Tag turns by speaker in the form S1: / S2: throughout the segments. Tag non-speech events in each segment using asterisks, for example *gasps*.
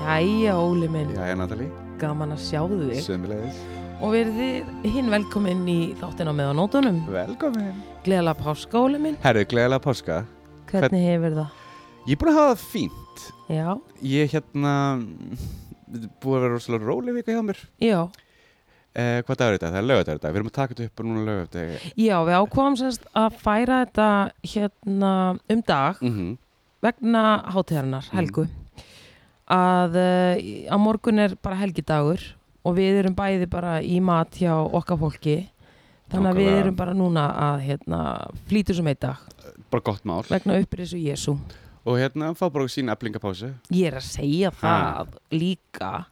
S1: Jæja, Óli minn,
S2: Jæja, Natalie,
S1: gaman að sjá þig
S2: sömulegis,
S1: og verðið hinn velkominn í þáttina með á nótunum.
S2: velkomin
S1: Gleðala páska, Óli minn,
S2: Herru, gleðilega páska
S1: hvernig hefur það?
S2: Ég er búin að hafa það fínt
S1: Já,
S2: Ég er hérna, þetta er búið að vera rosalega róleg vika hjá mér
S1: já,
S2: eh, Hvað dagur er þetta? Það er lögadagur í dag, við erum að taka þetta upp og núna lögadagur
S1: já, við ákváðum semst að færa þetta hérna um dag
S2: mm -hmm.
S1: vegna hátíðarinnar,
S2: Mm.
S1: helgu, að uh, á morgun er bara helgidagur og við erum bæði bara í mat hjá okkar fólki, þannig að við
S2: Nákvæmlega.
S1: erum bara núna að hérna flýtur sem eitt dag
S2: Bara gott mál
S1: vegna upprisu Jésu.
S2: Og hérna, fá bara sín eflingapásu
S1: Ég er að segja það líka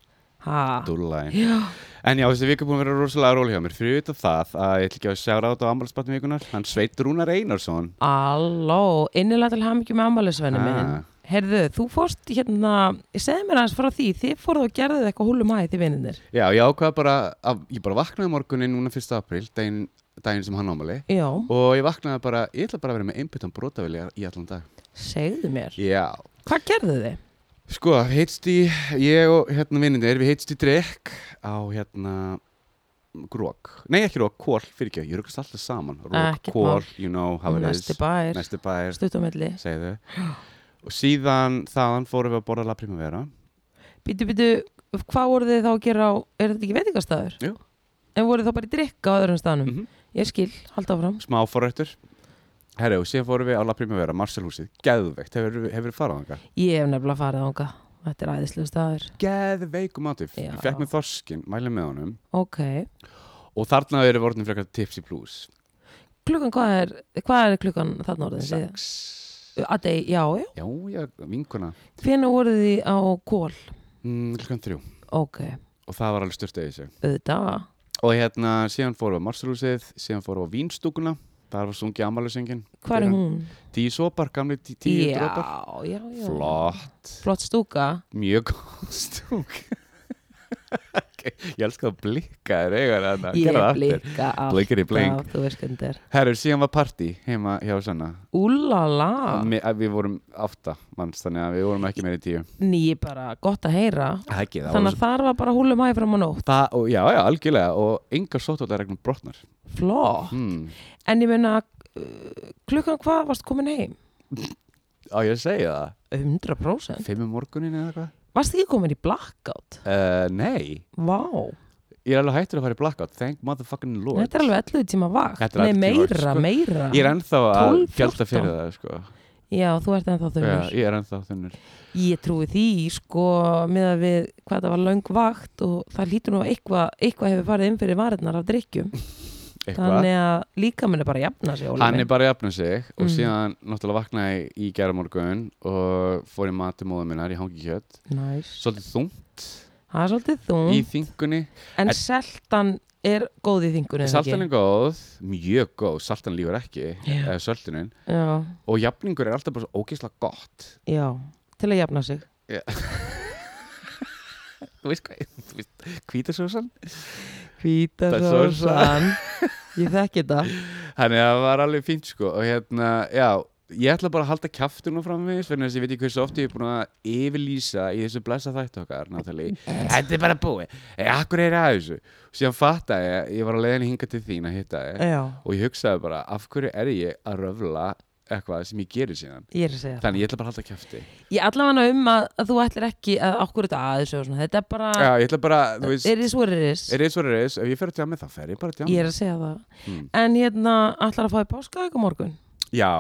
S1: ha.
S2: Dúlæn
S1: Já,
S2: En já, þessi vika er búin að vera rosalega róleg hjá mér Fyrir utan það að ég ætl ekki að sjára á þetta á ammálspatnum vikunar Hann sveit Rúnar Einarsson
S1: Alló, innilega til hamingju með ammælisvenni
S2: Ah.
S1: minn Herðu, þú fórst hérna, segðu mér aðeins frá því Þið fóruð og gerðuð eitthvað húlum aðið því vinninir
S2: Já, ég ákvað bara, að, ég bara vaknaði morgunin núna 1. apríl, daginn, daginn sem hann ámali
S1: Já,
S2: Og ég vaknaði bara, ég ætla bara að vera með einbyttan brotavilja í allan dag.
S1: segðu mér
S2: Já.
S1: Hvað gerðuð þið?
S2: Sko, heitst í, ég og hérna vinnindir, við heitst í drekk á hérna grók. Nei, ekki rók, kól, fyrir ekki, ég rukast alltaf saman. Rók,
S1: Ah, Ekkert
S2: kól,
S1: mál.
S2: you know, how it is.
S1: Næsti bær,
S2: Næsti bær,
S1: stuttamilli
S2: segðu. Og síðan þaðan fórum við að borða La Primavera.
S1: Býtu, býtu, hvað voruð þið þá að gera á Er þetta ekki veitingastæður?
S2: Jú.
S1: En voruð þið þá bara í drikka á öðrum staðnum?
S2: Mhm.
S1: Ég skil, halda áfram
S2: Smá forrættur. Herru, og síðan fórum við á La Primavera, Marcelhúsið, geðveikt, hefur, hefur við farað þangað?
S1: Ég hef nefnilega farið ánga Þetta er æðislega staður
S2: Geðveikum átif.
S1: Já.
S2: Ég fekk með þorskin, mæli með honum.
S1: Ok,
S2: Og þarna eru vortin frekar tipsy blues.
S1: klukkan hvað er, hvað er klukkan þarna orðin? Sex.
S2: Sex.
S1: Að deg, já, já.
S2: Já, já, vinkona.
S1: Hvenær voruð þið á kól?
S2: Mm, klukkan þrjú.
S1: Ok,
S2: Og það var alveg styrtað í sig.
S1: auðvitað.
S2: Og hérna, síðan fórum við á Marsalúsið, síðan fórum við á Vínstúkuna. Þar var sungið ammælusengin.
S1: Hvað er hún?
S2: Tíu sopar, gamli tí, tíu
S1: já,
S2: drópar.
S1: já, já.
S2: Flott.
S1: Flott stúka.
S2: Mjög góð stúk. *laughs* Ok, Ég elska að blikka þér eigar að það.
S1: Ég blika allt.
S2: Blikkar í blink.
S1: Þú veist hvernig þetta er.
S2: Herru, síðan var partí heima hjá Sanna.
S1: Úlala.
S2: Mi- að Við vorum átta manns, þannig að við vorum ekki meiri tíu.
S1: Nýi bara gott að heyra.
S2: Ekki, það
S1: Þannig að þar var bara húlum hæg fram á nótt.
S2: Það, og, já, já, algjörlega og engar sótvaldaregnum brotnar
S1: Flott.
S2: hmm.
S1: En ég meina, uh, klukkan hvað varst komin heim?
S2: Á ég að segja það?
S1: 100%.
S2: Fimm um morgunin eða eitthvað?
S1: Varst ekki komin í blackout?
S2: Uh, nei,
S1: Vá.
S2: ég er alveg hættur að fara í blackout Thank motherfucking lord
S1: Þetta er alveg 11 tíma vakt.
S2: Þetta er 11
S1: Nei,
S2: tíma vakt,
S1: meira,
S2: sko.
S1: meira.
S2: Ég er ennþá að
S1: 12,
S2: gjalda
S1: 14.
S2: fyrir það sko.
S1: Já, þú ert ennþá
S2: já,
S1: þunnur.
S2: Ég er ennþá þunnur
S1: Ég trúi því, sko, með að við hvað það var löng vakt og það lítur nú að eitthvað, eitthvað hefur farið inn fyrir varirnar af drikkjum.
S2: Eitthvað
S1: Þannig að líka minn er bara að jafna sig, Óli.
S2: Hann
S1: minn.
S2: er bara að jafna sig og
S1: Mm.
S2: síðan náttúrulega vaknaði í gerðamorgun og fór í mati móðum minnar í hangi kjött
S1: Næs.
S2: Svolítið þungt
S1: Það er svolítið
S2: í
S1: þung,
S2: þingunni
S1: en
S2: en-
S1: seltan er góð í þingunni, er það
S2: Saltan er góð, mjög góð, saltan lífur ekki
S1: Já.
S2: yeah. Söldunin
S1: Já,
S2: og jafningur er alltaf bara svo ógeðslega gott
S1: já, til að jafna sig.
S2: þú veist hvað, þú veist, hvítasósan
S1: Hvíta
S2: Það er
S1: sósan. *laughs* Ég þekki það.
S2: þannig að það var alveg fínt sko og hérna, já, ég ætla bara að halda kjaftunum framvegis, fyrir þess að ég veit ekki hversu oft ég er búin að yfirlýsa í þessu blessa þættu okkar, Nathalie, þetta er bara búið e, akkur er að þessu, síðan fatta ég ég var á leiðinni hinga til þín að hitta þig
S1: Já,
S2: og ég hugsaði bara, af hverju er ég að röfla eitthvað sem ég gerir síðan
S1: ég er að segja það.
S2: þannig ég ætla bara að halda kjafti
S1: Ég allavega um að, að þú ætlir ekki að okkur þetta aðeins og svona. Þetta er bara,
S2: já, ég ætla bara, þú veist,
S1: er þið svoriris?
S2: er eins og er eins ef ég fer að djama þá fer ég bara að
S1: Ég
S2: djama
S1: er að segja það.
S2: Mm.
S1: En hérna, ætlar að fá í páskaegg á morgun?
S2: já,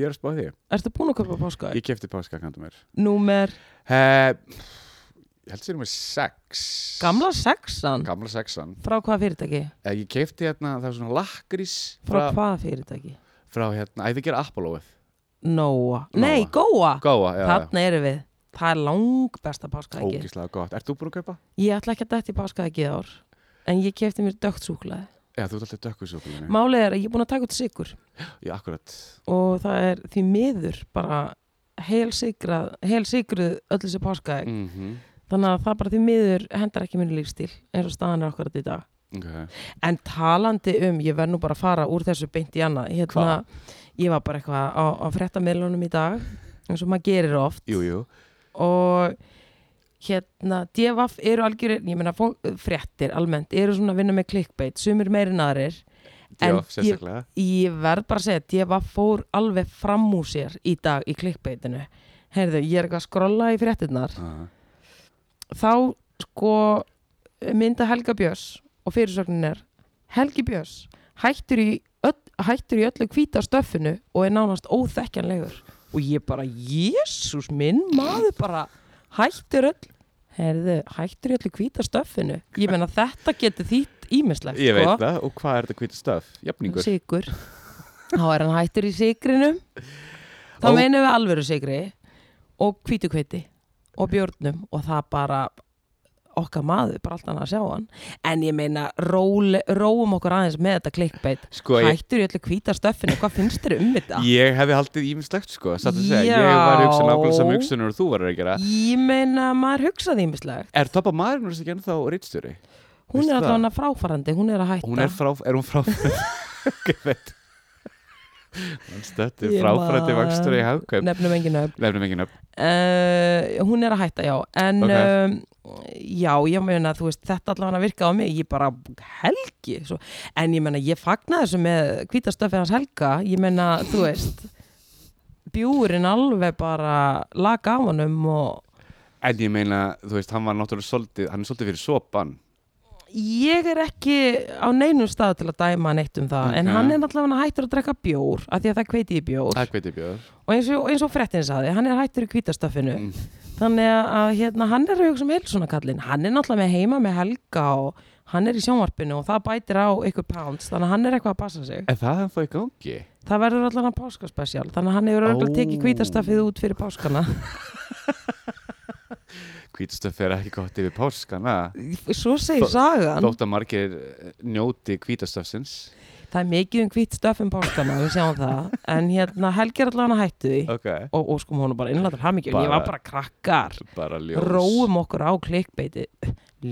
S2: ég er að spá því,
S1: Ertu búin að kaupa páskaegg?
S2: ég kefti páskakandum mér
S1: Númer
S2: Uh, ég held sér um sex
S1: gamla sexan?
S2: Gamla sexan
S1: Frá hvaða fyrirtæki?
S2: uh, Ég keipti hérna, það var svona lakrís
S1: Frá
S2: frá,
S1: hvaða fyrirtæki?
S2: frá hérna, æði að gera Apolloið
S1: Nóa. Nei, Góa.
S2: Góa, já, já,
S1: Þarna eru við. Það er lang besta páskaeggi.
S2: ógíslega gott Ert þú búin að kaupa?
S1: Ég ætla ekki að dætt í páskaeggi í ár. En ég kefti mér dögt súklaði.
S2: Já, þú ert alltaf dökkuðsjókulinu
S1: Málið er að ég er búin að taka út sigur.
S2: Já, akkurat
S1: Og það er því miður bara heilsigrað, heilsigruð öll þessi páskaegg.
S2: mm -hmm.
S1: þannig að það bara því miður hendar ekki minni lífstíl eins og staðan er okkur að þetta
S2: okay.
S1: en talandi um, ég verð nú bara að fara úr þessu beint í annað hérna,
S2: Hvað?
S1: ég var bara eitthvað á, á fréttamiðlunum í dag eins og maður gerir oft
S2: Jú, jú
S1: og hérna DFF eru algjörir, ég meina fólk- fréttir almennt, eru svona að vinna með clickbait sumir meiri en aðrir En
S2: Já,
S1: ég-
S2: sérstaklega
S1: ég verð bara að segja, DFF fór alveg fram úr sér í dag í clickbaitinu heyrðu, ég er eitthvað að skrolla í fréttirnar
S2: Aha.
S1: þá sko mynda Helga Björns og fyrirsögnin er Helgi Björns hættur í, öll, hættur í öllu hvíta stöffinu og er nánast óþekkjanlegur og ég bara, jésús minn maður bara hættur öll herðu, hættur í öllu hvíta stöffinu ég meina þetta getur þýtt sko. ímislegt
S2: Ég veit það, og hvað er þetta hvita stöf? Jafningur
S1: sigur þá er hann hættur í sigrinum þá
S2: Ó.
S1: meinum við alvöru sigri og hvítu hviti og björnum og það bara okkar maður, bara allt annað að sjá hann en ég meina, róle, róum okkur aðeins með þetta klikkbeitt,
S2: Sko, ég,
S1: hættur í öllu hvíta stöffinu, hvað finnst þér um þetta?
S2: ég hefði haldið ímislegt sko Satt að segja, ég
S1: Já.
S2: var hugsa nákvæmlega saman hugsunum og þú varur að gera
S1: Ég meina, maður hugsaði ímislegt
S2: Er Toppa Marinn ekki ennþá rítstjóri?
S1: hún er
S2: Veistu það?
S1: alltaf hana fráfarandi, hún er að hætta
S2: Hún er frá, er hún frá Ok, veit *laughs* Hún stöttir
S1: Ég
S2: fráfærætti
S1: man.
S2: vakstur í hagkaup
S1: nefnum engin öfn
S2: Lefnum ekki nöfn
S1: uh, hún er að hætta, já en
S2: Ok.
S1: um, já, ég meina þú veist, þetta allavega virkaði á mig, ég bara helgi, svo. en ég meina ég fagna þessu með hvítastöfið hans helga ég meina, þú veist bjúurinn alveg bara laga af honum og
S2: En ég meina, þú veist, hann var náttúrulega svolítið Hann er svolítið fyrir sopan
S1: ég er ekki á neinum stað til að dæma neitt um það, en
S2: Ok.
S1: hann er allavega hættur að drekka bjór, af því að það kveiti í bjór
S2: Það hveit ég bjóð
S1: og eins og, eins og frettin saði, hann er hættur í hvítastöfinu
S2: Mm.
S1: þannig að hérna, hann er að hugsa um heilsuna kallinn, hann er náttúrulega með heima með helga og hann er í sjónvarpinu og það bætir á ykkur pounds, þannig að hann er eitthvað að passa sig
S2: En það er hann þá í gangi
S1: það verður allan að páskaspecial, þannig að hann hefur örugglega
S2: Ó.
S1: tekið hvítastafið út fyrir
S2: *laughs*
S1: páskana
S2: Hvítastöf er ekki gott yfir páskana
S1: svo segir sagan,
S2: Þótt að margir eh, njóti hvítastöfsins
S1: það er mikið um hvítstaf um páskana, við sjáum það en hérna, helgi er allan að hættu því
S2: Ok
S1: og, og sko hún er bara innlættur hamingju, ég
S2: Bara-
S1: var bara krakkar
S2: Bara ljós
S1: róum okkur á klikkbeiti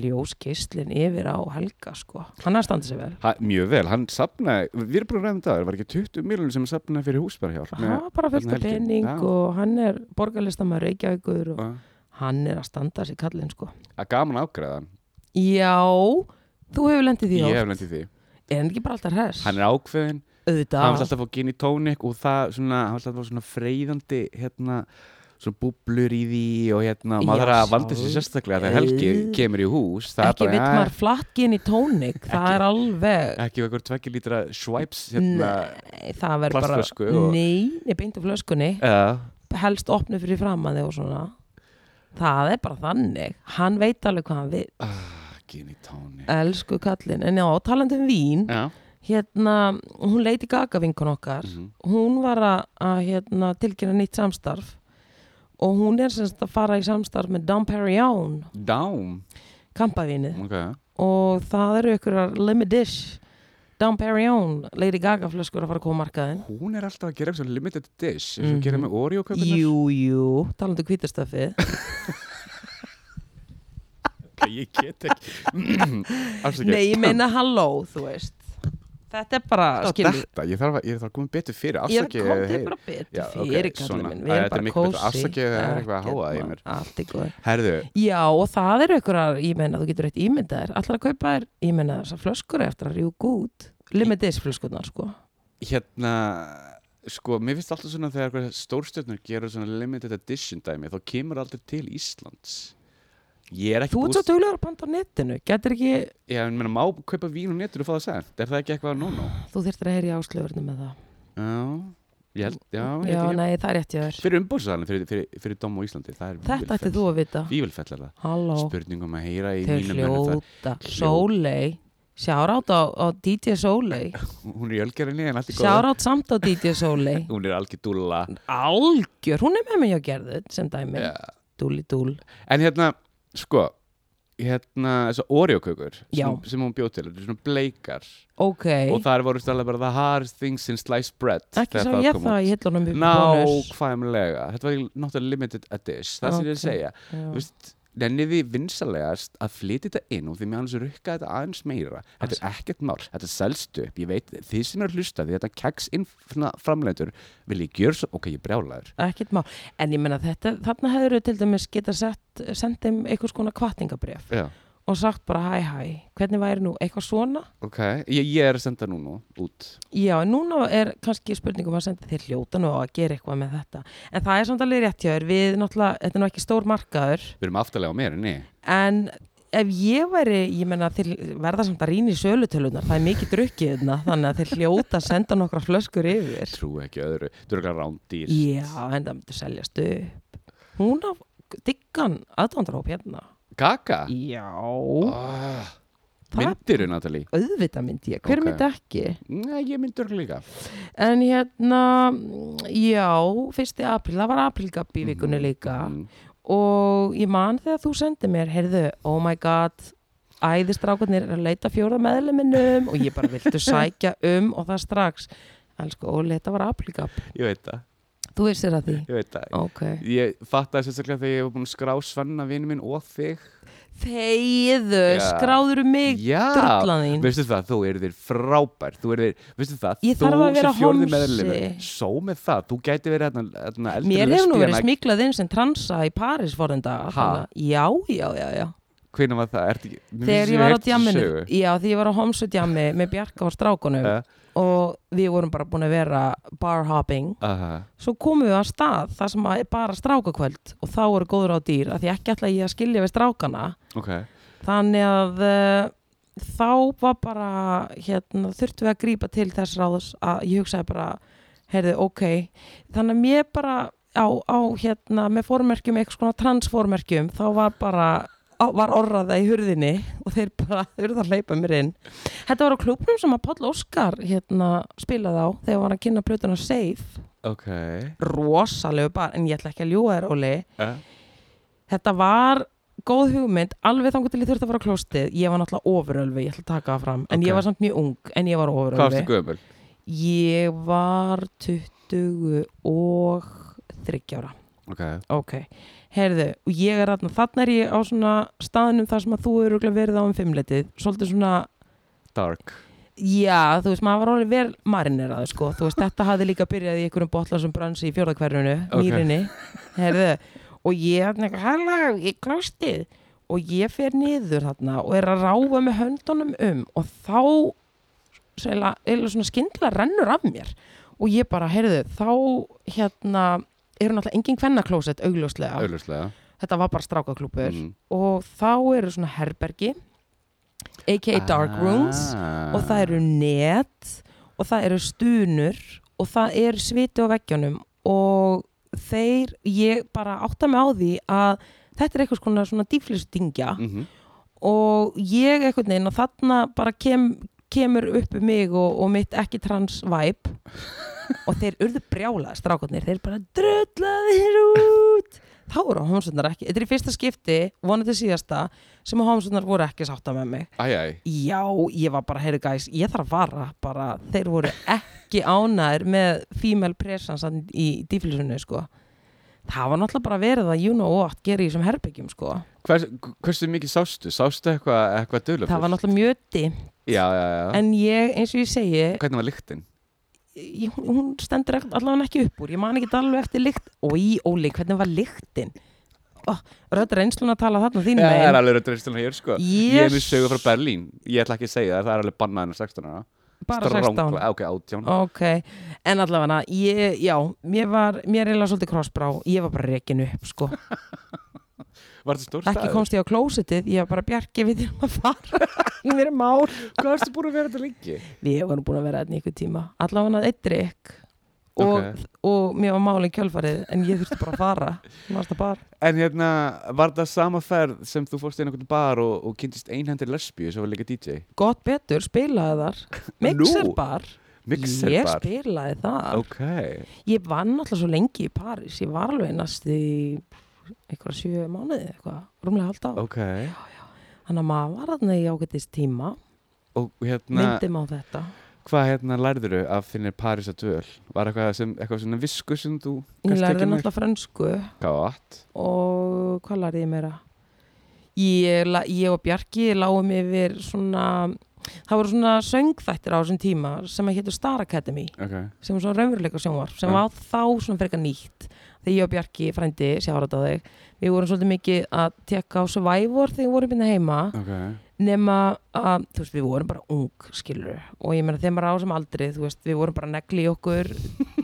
S1: ljóskistlin yfir á helga sko, hann er að standa sér vel
S2: ha, Mjög vel, hann sapnaði Við erum búin að ræða um það, var ekki 20 miljonur sem hann sapnaði fyrir húsbærhjálp
S1: hann var bara fullt
S2: þarna
S1: af
S2: helgi.
S1: pening
S2: Já.
S1: og hann er borgarlistamæður Reykjavíkur og
S2: Já.
S1: hann er að standa sér kallinn sko.
S2: Að gaman ágreðan
S1: Já, þú hefur lendið því
S2: Ég
S1: átt.
S2: hef lendið því
S1: Er hann ekki bara alltaf hress?
S2: Hann er ákveðin hann var
S1: Auðvitað.
S2: alltaf að fá gin í tónik og það svona, hann var alltaf að fá svona freyðandi hérna, svona búblur í því og hérna,
S1: Já,
S2: maður þarf að vanda
S1: sjálf.
S2: sér sérstaklega þegar Helgi
S1: Eh.
S2: kemur í hús það
S1: Ekki
S2: er
S1: vill
S2: bara,
S1: maður flakkinn í tónik, það
S2: Ekki-
S1: er alveg...
S2: ja, ekki einhver tvekki lítra swipes hérna,
S1: Nei, það verður bara...
S2: plastflösku og-
S1: Nei, nei, beint úr flöskunni.
S2: uh,
S1: Helst opnu fyrir framan þig og svona. Það er bara þannig. Hann veit alveg hvað hann vil.
S2: gin í tónik
S1: Elsku kallinn. En já, talandi um vín,
S2: já,
S1: hérna, hún leiti gaga vinkun okkar.
S2: mhm,
S1: hún var að, að hérna, tilkynna nýtt samstarf og hún er semst að fara í samstarf með Dom Perignon,
S2: dám
S1: kampavínið
S2: ok,
S1: og það eru ykkur limidish Dom Perignon, Lady Gaga flöskur að fara að koma á markaðin
S2: hún er alltaf að gera eitthvað limited dish eins og
S1: Mhm.
S2: gera með Oreo kökunar
S1: Jú, jú, talandi um hvítastöfi
S2: ég get ekki *clears throat* afsakið.
S1: Nei, ég
S2: *clears throat*
S1: meina halló, þú veist Þetta er bara,
S2: Þetta á
S1: skilur
S2: þetta, ég þarf að, ég þarf að koma betur fyrir
S1: Ég
S2: afsakið
S1: kom
S2: hey.
S1: til bara betur
S2: Já, ok,
S1: fyrir kallum
S2: svona.
S1: minn, við
S2: Æ, þetta er
S1: erum bara
S2: miklu betra.
S1: kósi
S2: Afsakið, það er eitthvað að háa í mér.
S1: Allt í góð
S2: herðu,
S1: Já, og það eru einhverjar, ég meina, þú getur eitt ímyndaðir, allar að kaupa þér, ég meina, þessar flöskur eru eftir að rjúka út, limitis flöskurnar, sko.
S2: hérna sko, mér finnst alltaf svona þegar stórstjörnur gera svona limited edition dæmi þá kemur aldrei til Íslands ég er ekki
S1: Þú ert svo
S2: búst
S1: duglegur að panta á netinu, getur ekki,
S2: ég meina, má kaupa vín og netur og fá það sent er það ekki eitthvað no no
S1: þú þurftir að heyri áslöfurnu með það.
S2: já, ég held, já, ég
S1: Já,
S2: held ekki
S1: nei, það er rétt ég þér.
S2: fyrir umbóðsalinn, fyrir, fyrir, fyrir Dóm og Íslandi það er
S1: Þetta ætti þú að vita.
S2: vívelfell er það
S1: Halló,
S2: spurning um að heyra í
S1: þau
S2: mínum mönnum þar.
S1: hljóta,
S2: Hljó-
S1: Sólei, sjárátt á, á DJ Sólei,
S2: hún er í ölgerinni en allt er góð
S1: sjárátt samt á DJ Sólei,
S2: hún er algjör dúlla
S1: algjör, hún er með mig á gerðut, sem dæmi,
S2: Já.
S1: dúli dúl.
S2: En hérna, sko hérna, þessu orjókökur
S1: Já.
S2: sem, sem hún bjóð til, þetta er svona bleikar
S1: Ok,
S2: og þar voru stærlega bara the hard things in sliced bread
S1: ekki sá ég það í hillunum í bónus.
S2: nákvæmlega, þetta var náttúrulega limited edition það sem ég er að
S1: Ok,
S2: segja
S1: Já.
S2: Þú veist, nennið þið vinsalegast að flytja þetta inn og því með hans rukka þetta aðeins meira þetta er ekkert mál, þetta selst upp ég veit, þið sem eru að hlusta því þetta keks inn framlendur, vil ég gjör svo ok, ég brjálaður
S1: ekkert má en ég menna þetta, þarna hefur til dæmis geta sett, sendið einhvers konar kvartningabref
S2: Já.
S1: og sagt bara hæ hæ, hvernig væri nú eitthvað svona
S2: ok, ég, ég er að senda núna út
S1: Já, en núna er kannski spurningum að senda þér hljóta nú á að gera eitthvað með þetta en það er samt alveg rétt hjá þér, við náttúrulega þetta er nú ekki stór markaður
S2: við erum aftalega á mér, nei
S1: en ef ég væri, ég menna þeir verða samt að rýna í sölutölunar, það er mikið drukkið þarna, þannig að þeir hljóta að senda nokkra flöskur yfir
S2: trú ekki öðru, þú eru eitthvað rándýr
S1: Já, en það myndi seljast upp Hún á diggan aðdóndaróp hérna
S2: kaka
S1: Já,
S2: oh,
S1: það
S2: myndiru, Natalie
S1: auðvitað myndi ég, hver
S2: Ok.
S1: myndi ekki
S2: Nei, ég myndur líka
S1: En hérna, já, fyrsti apríl, það var aprílgabbi í vikunni líka
S2: Mm.
S1: og ég man þegar þú sendið mér, heyrðu, oh my god, æðistrákarnir er að leita fjóra meðleminum og ég bara *laughs* viltu sækja um og það strax. Elsku, Óli, þetta var aprílgabb.
S2: ég veit það,
S1: Þú vissir að því?
S2: ég veit það
S1: Ok.
S2: Ég fattaði sérstaklega þegar ég var búin að skrá Svenna vini minn og þig
S1: Þegiðu,
S2: Já.
S1: skráður um mig,
S2: Já,
S1: drullan þín.
S2: veistu það, þú eru þér frábær Þú eru þér, veistu það,
S1: Ég
S2: þú
S1: þarf að vera homsi.
S2: meðlumur Só með það, þú gæti verið hérna, hérna eldri
S1: Mér hefur nú verið
S2: lesbíana.
S1: smiklað inn sem transa í París forðenda.
S2: Ha?
S1: Já, já, já, já.
S2: Hvenær var það, ertu ekki mér finnst
S1: Þegar ég
S2: hef
S1: var á
S2: heyrt þessa
S1: djamminu,
S2: sögu.
S1: já því ég var á homsudjammi með Bjarka og strákunum
S2: Eh.
S1: og við vorum bara búin að vera bar hopping
S2: Aha,
S1: svo komum við að stað þar sem að er bara strákakvöld og þá voru góður á dýr af því ekki ætla ég að skilja við strákana
S2: Ok,
S1: þannig að uh, þá var bara hérna, þurftum við að grípa til þess ráðs að ég hugsaði bara, heyrðu, ok þannig að mér bara á, á hérna, með formerkjum, eitthvað svona transformerkjum, þá var bara á, var orraða í hurðinni og þeir bara, þeir eru það að hleypa mér inn þetta var á klubnum sem að Páll Óskar hérna, spilaði á þegar hann var að kynna plötuna Safe,
S2: ok
S1: rosalegu bara en ég ætla ekki að ljúga þér, Óli
S2: Eh,
S1: þetta var góð hugmynd alveg þangur til ég þurfti að fara á klóstið ég var náttúrulega ofurölvi, ég ætla að taka það fram en
S2: Ok.
S1: ég var samt mjög ung, en ég var
S2: Hvað varstu
S1: ofurölvi
S2: gömul?
S1: ég var 20 og 30 ára
S2: Ok,
S1: ok, heyrðu, og ég er þarna þarna er ég á svona staðnum þar sem að þú eru örugglega verið á um fimmletið svolítið svona,
S2: dark
S1: já, þú veist, maður var orðið vel marineraðu, sko, þú veist, þetta hafði líka byrjað í einhverjum botla sem bransi í fjórðakverjunu
S2: Ok.
S1: mýrinni, heyrðu og ég þarna eitthvað, halló, ég klostið og ég fer niður þarna og er að ráfa með höndunum um og þá eða svona skindla rennur af mér og ég bara, heyrðu, þá hérna, eru náttúrulega engin kvennaklósett augljóslega,
S2: Auðlustlega
S1: þetta var bara strákaklúpur
S2: Mhm.
S1: og þá eru svona herbergi aka
S2: Ah.
S1: dark rooms og það eru net og það eru stunur og það eru sviti á veggjónum og þeir, ég bara átta mig á því að þetta er eitthvað konar svona dýflistingja
S2: Mm. Mhm.
S1: og ég einhvern veginn og þarna bara kem, kemur upp um mig og, og mitt ekki trans vibe og þeir urðu brjálaði strákarnir, þeir bara dröllaði þér út þá eru hómsundar ekki, þetta er í fyrsta skipti vonandi síðasta sem að hómsundar voru ekki sátta með mig
S2: Æjæj,
S1: Já, ég var bara, heyrðu gæs, ég þarf að vara bara, þeir voru ekki ánæður með female presence þarna í dýflisunni, sko Það var náttúrulega bara verið að you know what gera í þessum herbyggjum, sko
S2: hversu mikið sástu? Sástu eitthvað eitthva dölufull?
S1: Það var náttúrulega mjög dimmt,
S2: Já, já, já
S1: en ég, eins og ég segi
S2: Hvernig var lyktin?
S1: ég, hún- hún stendur ekkert- allavega ekki upp úr ég man ekki alveg eftir lykt Ói, Óli, hvernig var lyktin? Oh, Rödd reynslun að tala þarna þín
S2: Já, það er
S1: megin
S2: alveg röddreistlun hér sko Ég er mjög sögur frá Berlín Ég ætla ekki að segja það, það er alveg bannað hennar 16 ára
S1: bara
S2: Strangla-
S1: 16
S2: á, Ok, 18
S1: Ok, en allavega, ég, já, mér var, mér er eiginlega svolítið krossbrá, ég var bara rekin upp,
S2: *laughs*
S1: sko.
S2: Var þetta stór
S1: Ekki
S2: staður?
S1: komst ég á klósitið, ég var bara bjargi við þér að fara, *laughs* ég verið mál.
S2: Hvað erstu búin að vera þetta lengi?
S1: Við vorum búin að vera þetta í ykkur tíma, allavega eitt drikk og,
S2: Ok.
S1: og mér var málin kjölfarið, en ég þurfti bara að fara, varst það bara.
S2: En hérna, var þetta sama ferð sem þú fórst inn á einhvern bar og, og kynntist einhendir lesbíu sem var líka DJ?
S1: Gott betur, spilaði þar, mixerbar,
S2: Mixer
S1: ég
S2: bar?
S1: spilaði þar.
S2: Ok,
S1: Ég vann alltaf svo lengi í París, ég var alveg næst í einhverja sjö mánuði eitthvað, rúmlega halda á.
S2: ok
S1: Þannig að maður var þarna í ágættist tíma,
S2: Og hérna,
S1: myndum á þetta.
S2: hvað hérna lærðuru af þinnir París að döl? Var eitthvað sem, eitthvað svona visku sem þú
S1: Ég
S2: kannski
S1: lærði
S2: ekki með?
S1: náttúrulega frönsku
S2: Gátt
S1: og hvað lærði ég meira? ég, la- ég og Bjarki lágum yfir svona það voru svona söngþættir á þessum tíma sem að hétu Star Academy
S2: ok,
S1: sem var svona raunveruleika sjónvarp sem
S2: Já.
S1: var þá svona frekar nýtt þegar ég og Bjarki frændi sjárat á þig við vorum svolítið mikið að tekka á Survivor þegar við vorum byrna heima
S2: ok
S1: nema að, þú veist, við vorum bara ung skilur, og ég meina þegar maður er á sem aldrei þú veist, við vorum bara að negli í okkur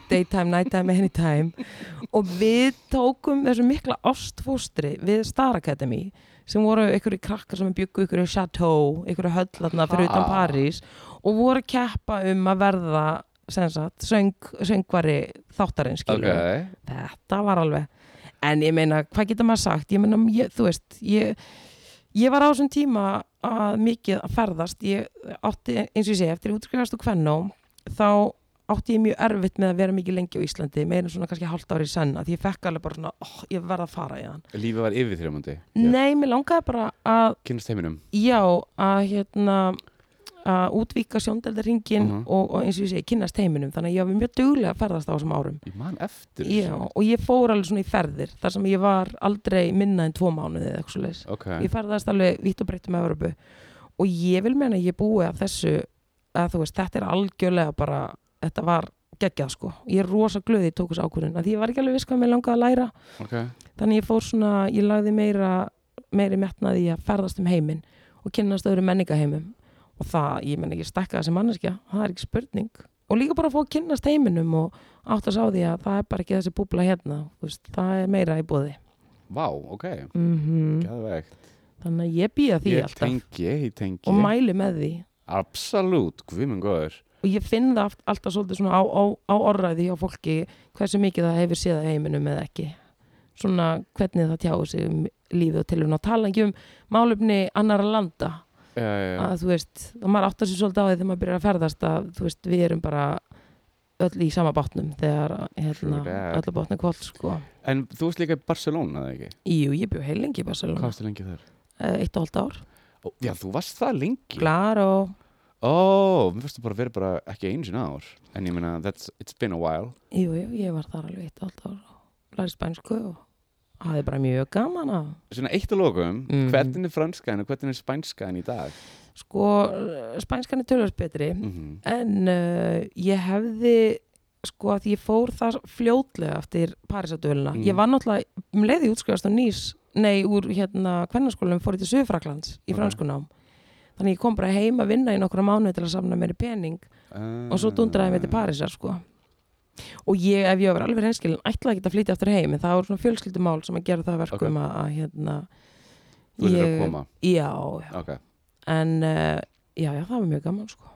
S1: daytime, nighttime, anytime og við tókum þessu mikla ástfóstri við Star Academy sem voru einhverju krakkar sem byggu einhverju chateau, einhverju höllatna fyrir utan
S2: Ha.
S1: París og voru að keppa um að verða sem sagt, söng, söngvari þáttarins
S2: ok,
S1: skilur þetta var alveg en ég meina, hvað getur maður sagt ég meina, ég, þú veist ég, ég var á þessum tíma að mikið að ferðast ég átti, eins og ég segi, eftir að ég útskrifast úr kvennó þá átti ég mjög erfitt með að vera mikið lengi á Íslandi meira en svona kannski hálft ári senn að ég fekk alveg bara svona, oh, ég verð að fara í hann
S2: lífið var yfir þrjómandi
S1: nei, mér langaði bara að
S2: kynast heiminum
S1: já, að hérna að útvíka sjóndeldarringin
S2: Mhm.
S1: og, og eins og ég segi, kynnast heiminum þannig að ég var mjög duglega að ferðast á þessum árum
S2: ég man eftir
S1: Já,
S2: þessu.
S1: og ég fór alveg svona í ferðir þar sem ég var aldrei minna en tvo mánuði eða eitthvað svoleiðis.
S2: ok,
S1: Ég ferðast alveg vitt og breytt um Evropu og ég vil meina að ég búi að þessu að þú veist, þetta er algjörlega bara þetta var geggjað sko ég er rosa glöði í tókus ákvörðun af því ég var ekki alveg viss hvað mér langaði að læra
S2: ok
S1: þannig ég fór svona, ég lagði meira meiri metnaði í að ferðast um heiminn og kynnast öðru menningaheimum og það, ég menn ekki stakka þessi manneskja það er ekki spurning og líka bara að fá að kynnast heiminum og átt að sá því að það er bara ekki þessi búbla hérna þú veist, það er meira í bóði
S2: vá, ok,
S1: mm
S2: gæðvegt
S1: þannig að ég býða því
S2: Mhm. ég
S1: alltaf
S2: tengi, ég tengi
S1: og mæli með því
S2: absolutt, hvað minn góður
S1: og ég finn það aft- alltaf svolítið svona á, á, á orðræði hjá fólki hversu mikið það hefur séð af heiminum eða ekki svona hvernig það tjáu sig um lífið og tilhörun og tala ekki um málefni annara landa
S2: já, já, já,
S1: að þú veist, og maður áttar sér svolítið á því þegar maður byrjar að ferðast að þú veist, við erum bara öll í sama bátnum þegar hérna,
S2: True that.
S1: öll að bátna kvöld sko.
S2: en þú varst líka í Barcelona, eða ekki?
S1: Jú, ég bjó heilengi í
S2: hvað
S1: Barcelona
S2: varstu lengi þar?
S1: Eh, eitt og hálft ár,
S2: Ó, já, þú varst það lengi
S1: klar og
S2: Ó, mér finnst það bara að vera bara ekki einu sinna ár En ég meina, that's, it's been a while
S1: jú, jú, ég var þar alveg eitt og hálft ár og læri spænsku og hafði bara mjög gaman að
S2: Svona eitt að lokum,
S1: Mhm.
S2: hvernig er franskaðin og hvernig er spænskaðin í dag?
S1: sko, eh, spænskan er tölvöld betri
S2: Mm
S1: en uh, ég hefði sko að ég fór það fljótlega eftir Parísadöluna
S2: Mm.
S1: ég var náttúrulega, um leiði útskrifast á nýs nei, úr hérna kvennarskólanum fór ég til Suðfraklands í
S2: Ok.
S1: franskunám þannig ég kom bara heim að vinna í nokkra mánuði til að safna mér í pening og
S2: Mm.
S1: svo dundraði mér til Parísar sko og ég, ef ég var alveg reynskilin ætlaði ekki að flytja aftur heim en það var svona fjölskyldumál sem að gera það að verkum að, að hérna
S2: Þú er að koma,
S1: já, já,
S2: ok
S1: en uh, já, já, það var mjög gaman sko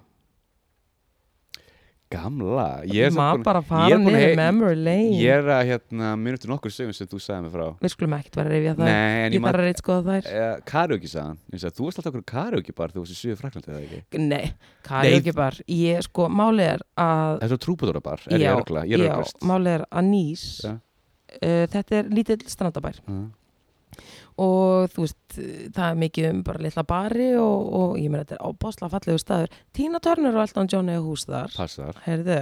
S2: Gamla, ég er samt
S1: maður
S2: búin
S1: bara að
S2: ég
S1: fara
S2: er búin að
S1: niður
S2: hey-
S1: memory lane
S2: Ég er að, hérna, mér eftir nokkur sögum sem þú sagði mér frá
S1: við skulum ekkert vera að rifja það
S2: Nei, en ég
S1: ég þarf
S2: maður
S1: að reynd skoða þær
S2: uh, Karaoke sagðan, ég sagði, þú varst alltaf okkur karaoke bara þegar þú varst í Suður Fraklandi eða ekki
S1: nei, karaoke bar ég sko, málið er að
S2: Það er svo trúbadóra bar, er ég
S1: já,
S2: örgla, ég er
S1: já,
S2: örglast
S1: málið er að nýs
S2: Já.
S1: uh, þetta er lítill strandabær og þú veist, eh, það er mikið um bara litla bari og, og ég meina þetta er ábásla fallegu staður Tina Turner og Elton John eða hús þar
S2: Passar,
S1: heyrðu,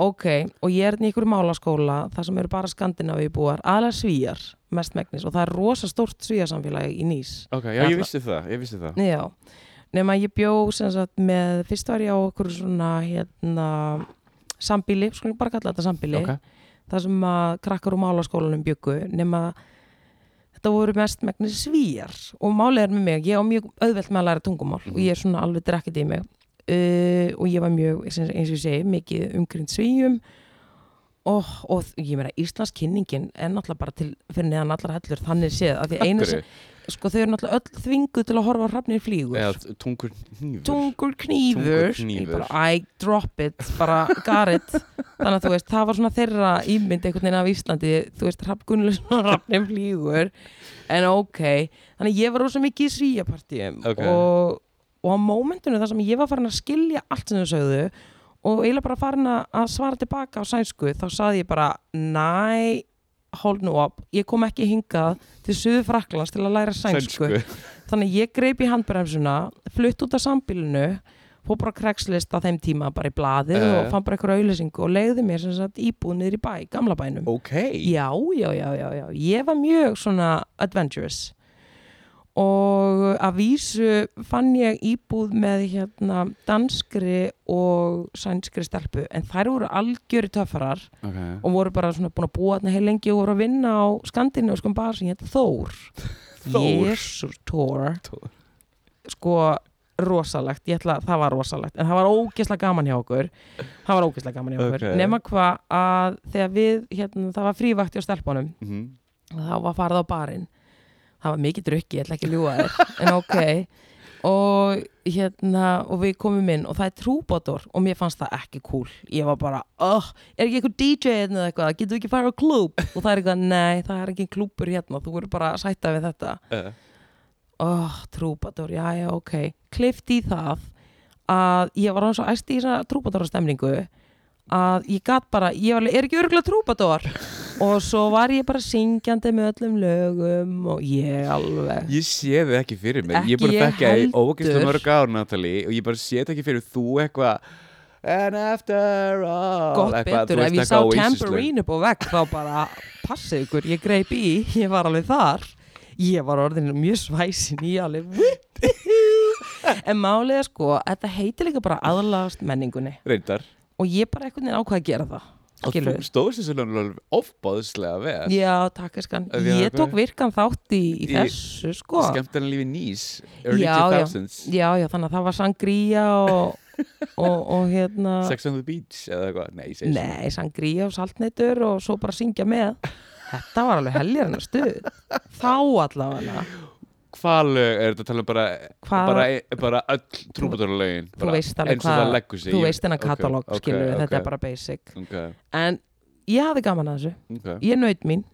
S1: ok, og ég er hérna í ykkur málaskóla, það sem eru bara skandinavíu búar, aðlega svíjar mestmegnis og það er rosa stórt svíjasamfélagi í nýs
S2: ok,
S1: Ég
S2: já, ég
S1: ætla-
S2: vissi það, ég vissi það
S1: Já, nema ég bjó sem sagt með, fyrst var ég á okkur svona hérna sambíli, sko ég bara kalla þetta sambíli
S2: Ok,
S1: þar sem að krakkar úr málaskólanum byggu nema þetta voru mest megnir svíjar og málið er með mig, ég á mjög auðvelt með að læra tungumál og ég er svona alveg drekkit í mig uh, og ég var mjög, eins og eins og ég segi mikið umgrind svíjum og, og ég meina Íslands kynningin er náttúrulega bara til fyrir neðan allar hellur þannig séð að því eina sem,
S2: Akkurri,
S1: sko þau eru náttúrulega öll þvinguð til að horfa á hrafnir flýgur
S2: eða tungur hnífur
S1: tungur knýfur,
S2: Tungurknífur.
S1: Ég bara, I drop it, bara garit *laughs* þannig að þú veist, það var svona þeirra ímynd einhvern veginn af Íslandi, þú veist Rapp Gunnlauson og Rappnum flýgur en ok, þannig að ég var rosa mikið í svíjapartíum
S2: Ok.
S1: og, og á mómentinu þar sem ég var farin að skilja allt sem þau sögðu og eiginlega bara farin að að svara tilbaka á sænsku þá saði ég bara, næ hold nú up, ég kom ekki hingað til Suður Fraklands til að læra sænsku þannig að ég greip í handbremsuna flutt út af sambílinu fór bara krekslist á þeim tíma bara í blaðið
S2: Eh.
S1: og fann bara einhverja auðlýsingu og leiði mér sem sagt íbúð niður í bæ, gamla bænum
S2: Ok,
S1: já, já, já, já, já, ég var mjög svona adventurous og að vísu fann ég íbúð með hérna danskri og sænskri stelpu en þær voru algjöri töffarar
S2: ok
S1: og voru bara svona búin að búa þarna heil lengi og voru að vinna á skandinu og sko bara sem hérna Þór
S2: Þór.
S1: Jésús Thor
S2: Thor.
S1: sko rosalegt, ég ætla það var rosalegt en það var ógeðslega gaman hjá okkur það var ógeðslega gaman hjá okkur
S2: Ok.
S1: nema hvað að þegar við, hérna, það var frívakt hjá stelpunum
S2: Mhm.
S1: og þá var farið á barinn það var mikið drukki, ég ætla ekki að ljúga þér en ok og, hérna, og við komum inn og það er trúbátor og mér fannst það ekki cool ég var bara, oh, er ekki eitthvað DJ hérna eða eitthvað, getur við ekki að fara á klúb og það er eitthvað, nei, það er ekki klúbur hérna þú verður bara að sætta við þetta
S2: Eh,
S1: oh, trúbátor, já, já, ok klift í það að ég var hans og æst í þessa trúbátora stemningu að ég gat bara ég var, alveg, er ekki örgulega trúbátor og svo var ég bara syngjandi með öllum lögum og ég alveg
S2: Ég sé þið ekki fyrir mér, ég
S1: Ekki
S2: er búin að
S1: ég
S2: þekka þið
S1: heldur.
S2: ógæslega mörg ár, Natalie, og ég bara sé þetta ekki fyrir þú eitthvað And after all
S1: gott
S2: eitthvað,
S1: betur,
S2: þú
S1: ef ég
S2: veist,
S1: sá
S2: eitthvað Oasis-lög.
S1: tambourine upp og vekk þá bara passið ykkur, ég greip í ég var alveg þar ég var orðin mjög svæsin í alveg *laughs* en málið er sko að þetta heitir líka bara aðlagast menningunni
S2: Reyndar
S1: og ég bara einhvern veginn ákvað að gera það
S2: Og
S1: Skilurðu?
S2: þú stóðst þessu lögum alveg ofbáðslega vel
S1: Já, takk eskan.
S2: Að því að
S1: Ég
S2: eitthvað-
S1: tók virkan þátt í, í
S2: Í-
S1: þessu, sko.
S2: Skemmtarnar lífi nýs Early
S1: Já, já.
S2: 2000s
S1: Já, já, þannig að það var sangría og, og, og hérna...
S2: *laughs* Sex on the Beach eða eitthvað Nei, ég segi svona.
S1: Nei, sangría og saltneitur og svo bara syngja með. Þetta var alveg heljar hennar stuð. Þá allavega.
S2: Hvað lög er þetta að tala um bara
S1: Hvað-
S2: bara, e- bara öll trúbadurlögin
S1: Þú veist alveg
S2: Eins og það
S1: hvað...
S2: leggur sig
S1: Þú
S2: Ég-
S1: veist hennar
S2: ok,
S1: katalóg,
S2: ok,
S1: okay, skilur
S2: ok,
S1: þetta er bara basic.
S2: Ok,
S1: En ég hafði gaman að þessu.
S2: ok
S1: ég naut mín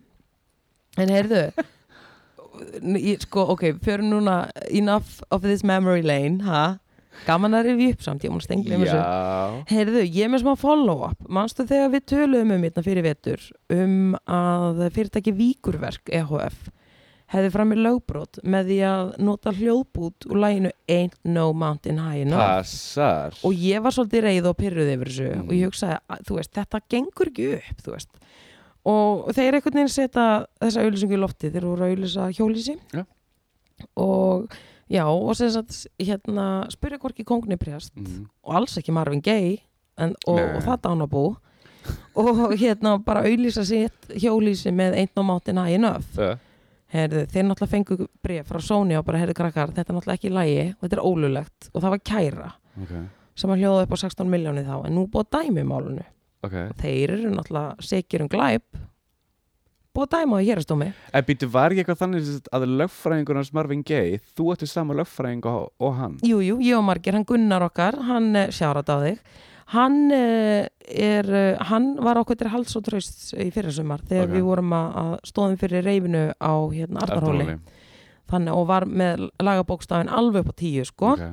S1: en heyrðu n- ég, sko, ok, förum núna enough of this memory lane ha? gaman að rifja upp samt, ég múin stengla um þessu
S2: Já
S1: heyrðu, ég er með smá follow-up manstu þegar við töluðum um hérna fyrir vetur um að fyrirtæki Víkurverk EHF hefði fram í lögbrót með því að nota hljóðbút úr læginu Ain't No Mountain High Enough
S2: Passar
S1: og ég var svolítið reið og pyrruð yfir þessu
S2: Mm.
S1: og ég hugsaði, að, þú veist, þetta gengur ekki upp þú veist, og þeir einhvern veginn setja þessa auðlýsingu í lofti þeir voru að auðlýsa hjólísi
S2: Já.
S1: og já, og sem sagt hérna, spyrja hvorki kongni prjast
S2: Mhm.
S1: og alls ekki Marvin Gaye en, og,
S2: Nei.
S1: og það dánabú og hérna bara auðlýsa sitt hjólísi með einn og mátin hægin öf
S2: Ö,
S1: Herðu, þeir náttúrulega fengu bref frá Sony og bara, herðu krakkar, þetta er náttúrulega ekki í lagi og þetta er ólulegt og það var kæra
S2: Ok,
S1: sem að hljóða upp á 16 miljónið þá en nú búið að dæmi í málunu
S2: ok
S1: þeir eru náttúrulega sekir um glæp búið að dæma á hérastómi
S2: En býttu, var ekki eitthvað þannig sem sagt að lögfræðingur hans Marvin Gaye, þú ættu sama lögfræðing og, og hann?
S1: jújú, ég og Margir, hann Gunnar okkar hann sjárat á þig hann eh, er, eh, hann var okkur til hals og tröst í fyrirsumar þegar
S2: Ok.
S1: við vorum að að stóðum fyrir reyfinu á hérna Arnarhóli þannig og var með lagabókstafin alveg upp á tíu sko
S2: Okay.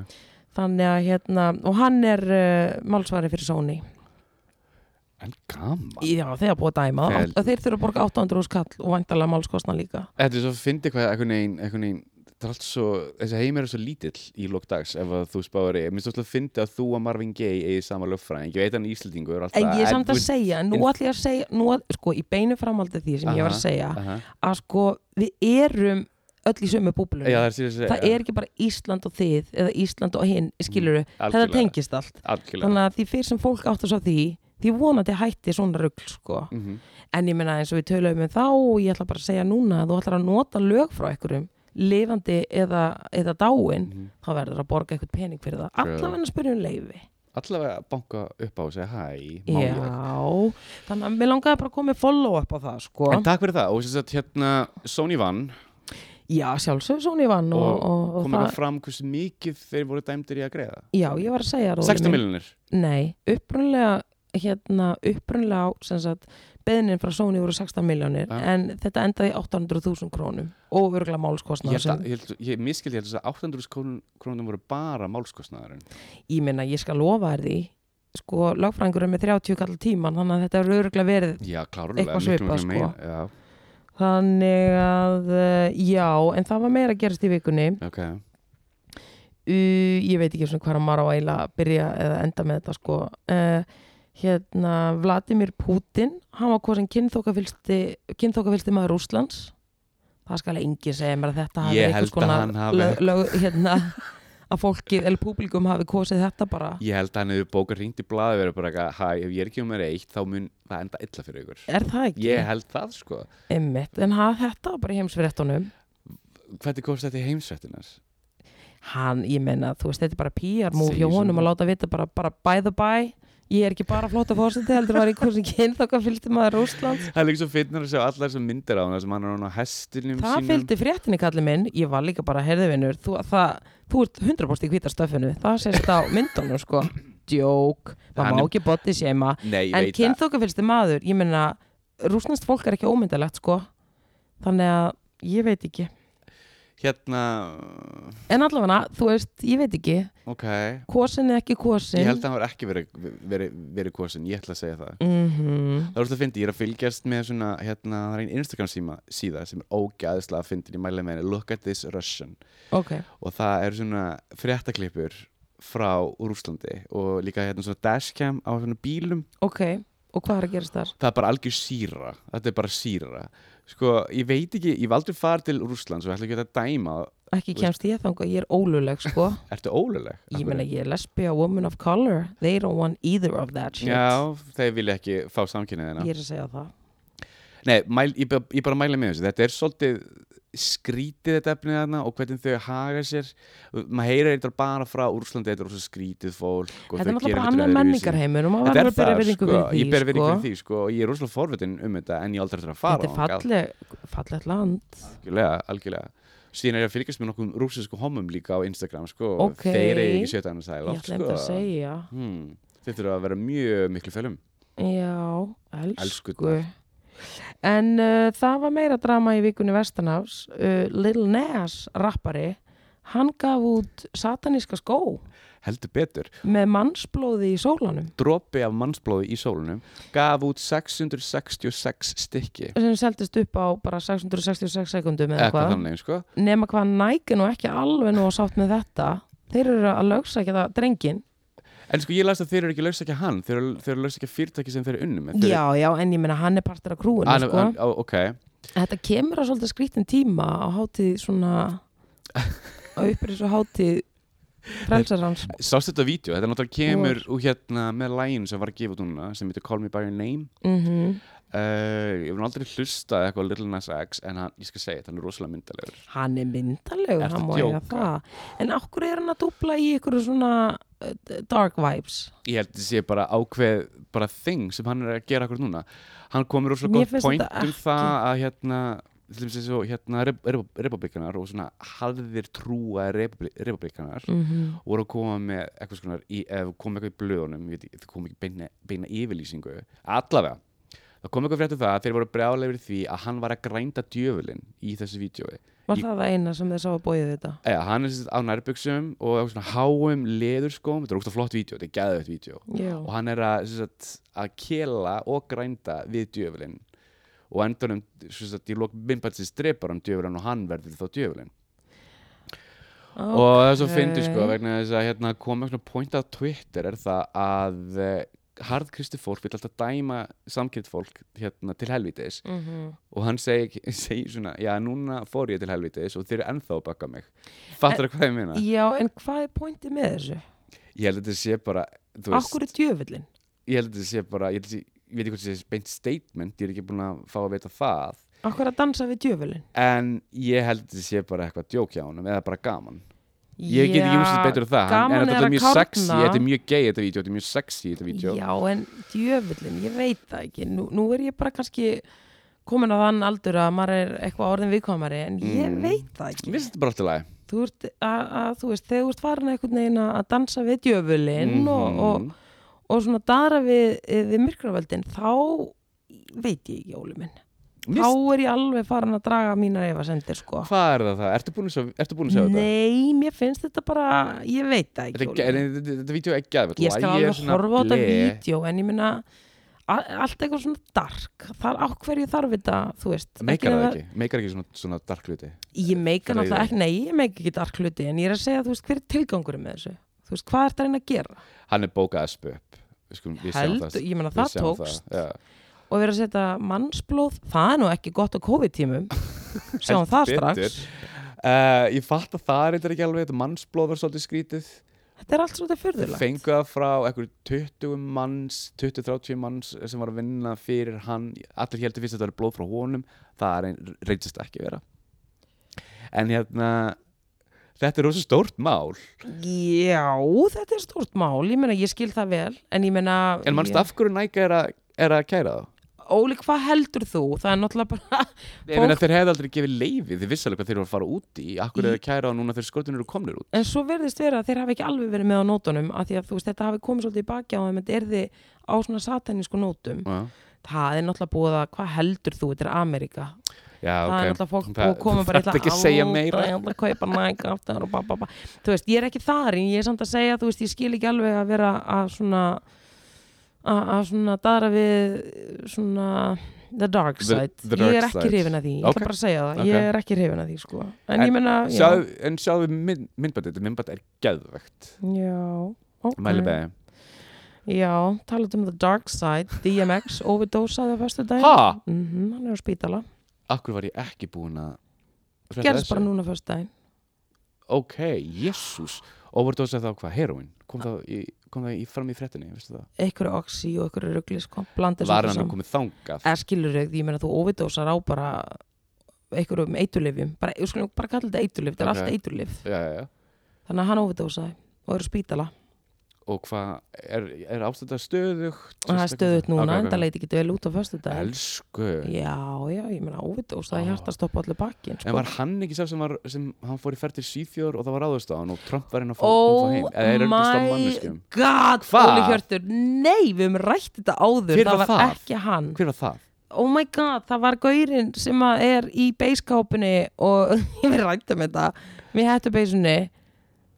S1: þannig að hérna, og hann er uh, málsvari fyrir Sony
S2: En gaman.
S1: Já, þeir hafa búið að dæma
S2: Þeir-
S1: og þeir þurfa að borga 800 skall og vantarlega málskostna líka
S2: Þetta er svo að fyndi hvað einhvern veginn, einhvern veginn, það er allt svo, þessi heimur er svo lítill í lókdags ef að þú spáður í. Mér finnst þú að fyndi að þú og Marvin Gaye eigi sama lögfræðing. Ég veit hann Íslandingur er alltaf.
S1: En ég er samt
S2: þú
S1: að
S2: veist-
S1: segja, nú ætlum ég að segja nú að, sko, í beinu framhaldi því sem ég var að
S2: Aha,
S1: segja
S2: Aha.
S1: að sko, við erum öll í sömu búblunum
S2: Já, það er sér að segja.
S1: það er ekki bara Ísland og þið eða Ísland og hinn, skiluru þetta
S2: algjörlega.
S1: tengist allt,
S2: Algjörlega.
S1: þannig að því fyrir sem fólk áttast á því því vonandi hætti svona rugl sko.
S2: Mm
S1: en ég menna eins og við töluðum um þá og ég ætla bara að segja núna að þú ætlar að nota lög frá einhverjum lifandi eða, eða dáin
S2: Mhm.
S1: þá verður að borga eitthvað pening fyrir það
S2: Sure.
S1: allavega að spyrja um leifi
S2: Allavega banka upp á og segja hæ, má ég?
S1: Já, þannig að mér langaði bara að koma með follow up á það sko.
S2: En takk fyrir það og þess að hérna Sony vann
S1: Já, sjálfsög Sony vann og,
S2: Og
S1: og, og
S2: kom
S1: það
S2: eitthvað fram hversu mikið þeir voru dæmdir í að greiða
S1: Já, ég var að segja Róli
S2: 60
S1: minn.
S2: miljonir
S1: Nei, upprunlega hérna, upprunlega á sem sagt, beðnin frá Sony voru 16 miljónir
S2: Já.
S1: en þetta endaði í 800.000 krónum og örgulega
S2: ég,
S1: málskostnaður
S2: held
S1: sem
S2: að- ég, held- ég miskildi ég held þess að 800 krón- krónum voru bara málskostnaðurinn
S1: ég minna, ég skal lofa þér því sko, lögfræðingur er með 30 kall tíman þannig að þetta er örgulega verið
S2: já klárlega
S1: Eitthvað
S2: miklu,
S1: svipað,
S2: miklu
S1: sko.
S2: meira. já,
S1: þannig að, eh, já, en það var meira að gerast í vikunni
S2: ok
S1: uh, ég veit ekki svona hvað maður á að eiginlega að byrja eða enda með þetta sko uh, hérna Vladimir Putin hann var hvað sem kynþókafylsti maður Rúslands það skal engin segja mér að þetta hafi
S2: Ég
S1: einhvers
S2: held að hann hafi-
S1: lög, lög, hérna, að fólkið, eller públikum hafi kosið þetta bara
S2: Ég held að hann hefur bókað ringt í blaði verið bara eitthvað, hæ, ef ég er ekki um mér eitt þá mun það enda illa fyrir ykkur.
S1: er það ekki?
S2: Ég held það sko.
S1: Einmitt, en hafði þetta bara í heimsfyrirtunum
S2: Hvernig komst þetta í heimsvættinars?
S1: hann, ég menna, þú veist, þetta er bara PR move hjá
S2: Segir
S1: honum
S2: svona.
S1: að láta vita bara, bara by the by, ég er ekki bara flóta fórseti heldur var í kursin kyn þá hvað fylgdi maður Rússlands,
S2: Það er líka svo finnar að sjá allar þessar myndir á hann sem hann er hann á hestinum
S1: það
S2: sínum.
S1: fylgdi fréttinni kallið minn, ég var líka bara herðivinnur þú, það, þú ert 100% í hvíta stöffinu það sést á myndunum sko djók,
S2: Hann
S1: maður má
S2: er-
S1: ekki bóti séma
S2: Nei, ég
S1: en
S2: veit það.
S1: kynþókafylgsti maður, ég menna rúsnast fólk er ekki ómyndalegt sko þannig að ég veit ekki
S2: Hérna,
S1: en allavega, þú veist, ég veit ekki
S2: ok.
S1: kosin eða ekki kosin
S2: Ég held að hann var ekki verið, verið, verið kosin, ég ætla að segja það.
S1: Mhm.
S2: Það er úrslega fyndið, ég er að fylgjast með svona, hérna, það er einn Instagram síma, síða sem er ógæðislega fyndin í mæla með henni, Look at this Russian.
S1: ok,
S2: Og það eru svona fréttaklippur frá Rúslandi og líka hérna svona dashcam á svona bílum.
S1: ok, og hvað er að gerast þar?
S2: Það er bara algjör síra, þetta er bara síra. Sko, ég veit ekki, ég valdur fara til Rúsland svo ég ætla ekki að dæma,
S1: ekki kemst ég þangað, ég er óluleg sko
S2: ertu óluleg?
S1: ég meina ég er lesbia, woman of color they don't want either of that shit
S2: Já, þeir vilja ekki fá samkynniðina.
S1: ég er að segja það
S2: Nei, mæl, ég, bara- ég bara mæla með þessu, þetta er svolítið skrítið þetta efnið þarna og hvernig þau haga sér maður heyrir eitthvað bara frá Úrslandi þetta er rosa skrítið fólk
S1: þetta er
S2: og Sko, þau
S1: náttúrulega
S2: gera
S1: bara
S2: hlutina
S1: annar
S2: öðruvísi.
S1: menningarheimur og maður
S2: Þetta
S1: verður
S2: er
S1: að byrja
S2: það,
S1: verðingu
S2: sko,
S1: fyrir því
S2: ég ber verið
S1: sko.
S2: fyrir því sko, og ég er rosalega forvitin um þetta en ég aldrei þarf að fara
S1: þetta er falleg, fallegt land
S2: þangað, algjörlega, algjörlega síðan er ég að fylgjast með nokkrum rúsinsku homum líka á Instagram sko, og
S1: Ókei.
S2: þeir eru ekki sjöta annars
S1: ég
S2: aðeins
S1: ætla einnig að segja
S2: sko. hmm, þeir þurfa að vera mjög miklu fölum
S1: já, elsku
S2: Elskurnar.
S1: en uh, það var meira drama í vikunni Vestanás uh, Lil Nas rappari hann gaf út sataníska skó
S2: heldur betur,
S1: með mannsblóði í sólanum
S2: dropi af mannsblóði í sólunum gaf út 666 stykki
S1: sem seldist upp á bara 666 sekundum eða
S2: eitthvað
S1: eitthvað
S2: þannig sko
S1: nema hvað Nike er nú ekki alveg nú að sátt með þetta þeir eru að lögsa ekki það drengin
S2: En sko ég las að þeir eru ekki laus ekki hann þeir eru, þeir eru laus ekki fyrirtæki sem þeir eru unnum með Þeir
S1: já, já, en ég meina hann er partur af krúinu
S2: Hann-
S1: sko.
S2: hann- á, ok,
S1: þetta kemur á svolítið skrítin tíma á hátíð svona
S2: *laughs*
S1: á uppur þessu hátíð frelsarans
S2: sást þetta vídeo, þetta náttúrulega kemur úr hérna með lægin sem var að gefa út núna sem heitir Call Me By Your Name
S1: mm
S2: uh, Ég hef nú aldrei hlustað eitthvað á Little Nas X en hann, ég skal segja þetta, hann er rosalega myndalegur
S1: hann er myndalegur,
S2: Ertu
S1: hann má
S2: að
S1: eiga
S2: djóka?
S1: það en okkur er hann að dúbla í ykkur svona uh, dark vibes
S2: Ég held að þetta sé bara ákveð bara þing sem hann er að gera akkur núna Hann
S1: Mér
S2: komur rosalega
S1: finnst
S2: gott point
S1: þetta
S2: um það að hérna til dæmis eins og hérna republikanar og svona harðir trúa republikanar
S1: mm
S2: voru að koma með eitthvað skonar í, eða kom eitthvað í blöðunum ég veit ekki, það kom ekki beina, beina yfirlýsingu allavega, það kom eitthvað frétt um það að þeir voru brjálega yfir því að hann var að grænda djöfulinn í þessu vídjói
S1: var
S2: Ég-
S1: það það eina sem þeir sá að bóið þetta
S2: eða hann er sérst á nærbuxum og eitthvað svona háum leðurskóm þetta er ógst að flott vídjó, þetta er gæðveitt vídjó
S1: já,
S2: og hann er að, sérst, að kela og grænda við djöfulinn og endunum, sérst, í lók minnbætsins drepar hann djöfulinn og hann verður þá djöfulinn
S1: Ó,
S2: og það er svo fyndið sko
S1: Ókei.
S2: vegna þess að hérna koma svona point á Twitter er það að eh, harðkristi fólk vil alltaf dæma samkjönd fólk hérna til helvítis
S1: mhm.
S2: og hann segir *laughs* segi svona, já núna fór ég til helvítis og þeir eru ennþá að baka mig fattar það hvað ég meina?
S1: Já, en hvað er pointið með þessu?
S2: Ég held að þetta sé bara þú veist,
S1: Akkur er djöfullin?
S2: ég held að þetta sé bara ég, held að sé, ég veit ekki hvað þetta sé beint statement ég er ekki búin að fá að vita það
S1: Akkur er að dansa við djöfullin?
S2: en ég held að þetta sé bara eitthvað djók hjá honum eða bara gaman ég get ekki úrslit betur en það hann-
S1: gaman
S2: en
S1: er
S2: þetta er
S1: að
S2: mjög
S1: kárna.
S2: sexy, þetta er mjög gay þetta vídeo, þetta er mjög sexy þetta vídeo
S1: Já, en djöfullin, ég veit það ekki. Nú, nú er ég bara kannski komin á þann aldur að maður er eitthvað orðin viðkomari, en ég
S2: Mm.
S1: veit það
S2: Mér
S1: ekki.
S2: finnst þetta bara alltaf lagi
S1: Þú ert, að, að, þú veist, þegar þú ert farin eitthvað neina að dansa við djöfullin og,
S2: Mhm.
S1: og, og svona dara við, við myrkravöldin, þá veit ég ekki, Óli minn.
S2: Mér
S1: Þá
S2: finnst-
S1: er ég alveg farin að draga mínar efasendir, sko.
S2: Hvað er það það? Ertu búin að sjá, ertu búin að sjá þetta?
S1: Nei, mér finnst þetta bara, ég veit það
S2: Þetta,
S1: ekki
S2: er
S1: Óli.
S2: ge- en þetta, þetta vídeo er gæðvöld
S1: Ég skal alveg horfa á þetta vídeo en ég minna allt eitthvað svona dark þar á hverju þarf þetta, þú veist
S2: Meikar það
S1: nema-
S2: ekki, meikar ekki svona, svona dark hluti
S1: Ég meika
S2: Það er
S1: náttúrulega
S2: í
S1: ekki, nei, ég meika ekki dark hluti en ég er að segja, þú veist, hver er tilgangurinn með þessu þú veist, hvað er þetta að reyna að gera
S2: Hann er bókað að spö upp Við skulum- við
S1: Held,
S2: sjáum það-
S1: ég meina
S2: við
S1: það
S2: sjáum
S1: tókst
S2: það, já. *laughs*
S1: og við erum að setja mannsblóð, það er nú ekki gott á COVID-tímum sjáum það
S2: Heldur
S1: strax
S2: betur. Uh, ég fatt að það er eitthvað ekki alveg, þetta mannsblóð var svolítið skrítið.
S1: þetta er allt svolítið
S2: Þeir
S1: fyrðulegt
S2: fengu það frá einhverjum 20 manns, 20-30 manns sem var að vinna fyrir hann. Allir heldur fyrst að þetta var blóð frá honum, það er ein- reyndist ekki vera. En hérna, þetta er rosa stórt mál.
S1: já, þetta er stórt mál ég meina, ég skil það vel en ég meina
S2: En mannst af hverju næka er, að- er að kæra þá?
S1: Óli, hvað heldur þú? það er náttúrulega bara
S2: Ég meina þeir hefði aldrei gefið leifi, þeir vissi alveg hvað þeir voru að fara út í, akkur er að kæra á núna þegar skotunir eru komnir út.
S1: en svo verðist vera að þeir hafi ekki alveg verið með á nótunum af því að þú veist, þetta hafi komið svolítið í baki á þeim þetta erði á svona satanísku nótum
S2: Já,
S1: það er náttúrulega búið að hvað heldur þú þetta er Amerika
S2: já ok.
S1: það er náttúrulega fólk búið
S2: Það-
S1: að koma
S2: þú
S1: bara
S2: þarft ekki að segja meira.
S1: ég ætla að kaupa næka aftur og ba, ba, ba. þú veist, ég er ekki þar en ég er samt að segja, þú veist, ég skil ekki alveg að vera að svona að að svona dara við svona the dark
S2: The-
S1: side
S2: the dark
S1: ég er ekki
S2: side.
S1: hrifin að því, ég
S2: Ok.
S1: ætla bara að segja það
S2: Ok.
S1: ég er ekki hrifin að því, sko en, ég menna, já,
S2: Sjáðu, en sjáðu mynd, myndbætt, þetta myndbætt er geðvögt.
S1: já okay.
S2: Mæli beði.
S1: Já, talaðu um The Dark Side
S2: *laughs*
S1: DMX overdosaði á fyrstu dag
S2: Ha?
S1: Hann er á spítala
S2: Akkur var ég ekki búin að... frétta
S1: Gerðist
S2: þessu?
S1: bara núna fyrstu dag
S2: Ok, jésús. Overdose þá hvað, heroin? Kom það, í, kom það í, fram í frettinni, veistu það?
S1: Einhverju oxy og einhverju ruggli sko Blandið
S2: Var
S1: svo
S2: hann að
S1: saman
S2: komið þangað?
S1: Eða skilur þau, ég meina þú overdosar á bara einhverjum eitulifjum bara, ég skulum bara kalla þetta eitulif, þetta er
S2: Ok.
S1: allt eitulif
S2: Já, já, já.
S1: Þannig að hann overdosaði og er á spítala
S2: Og hvað, er, er ástættað stöðugt?
S1: og það er stöðut núna,
S2: Ok, ok.
S1: okay, enda leiti ekki vel út á fyrstu dag
S2: Elsku.
S1: Já, já, ég meina overdosaði
S2: Ó.
S1: oh. hjartastopp allir bakkin
S2: Ah.
S1: sko.
S2: En var hann ekki sá sem, var, sem hann fór í ferð til Svíþjóður og það var ráðust á hann og Trump var inn að fá kom
S1: Oh
S2: svo heim? Eða er öruggast á
S1: my
S2: manneskjum?
S1: god,
S2: Hva?
S1: Óli Hjörtur Nei, við höfum rætt þetta áður
S2: Hver
S1: Það
S2: var
S1: var
S2: það?
S1: ekki hann
S2: Hver var það?
S1: Oh my god, það var gaurinn sem að er í beiskápunni og *laughs* ég verið rætt um þetta mér hættu beisunni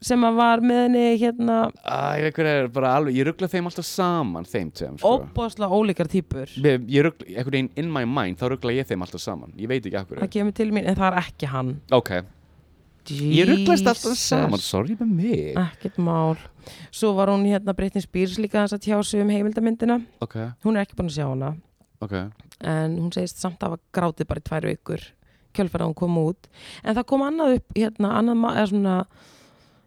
S1: sem að var með henni hérna
S2: Æ, ég veit hver er bara alveg, ég ruggla þeim alltaf saman, þeim tveim, sko.
S1: óbáslega ólíkar týpur
S2: Ég, ég ruggla, einhvern veginn in my mind, þá ruggla ég þeim alltaf saman. Ég veit ekki af hverju.
S1: það kemur til mín en það er ekki hann
S2: Ok. Ég rugglast alltaf
S1: Jesus.
S2: saman, sorry með mig.
S1: ekkert mál svo var hún hérna Britney Spears líka þess að tjá sig um heimildamyndina
S2: Ok,
S1: hún er ekki búin að sjá hana
S2: ok.
S1: en hún segist samt að hafa grátið bara í tvær vikur kjölfæra hún kom út en það kom annað upp hérna annað, ma- eða svona,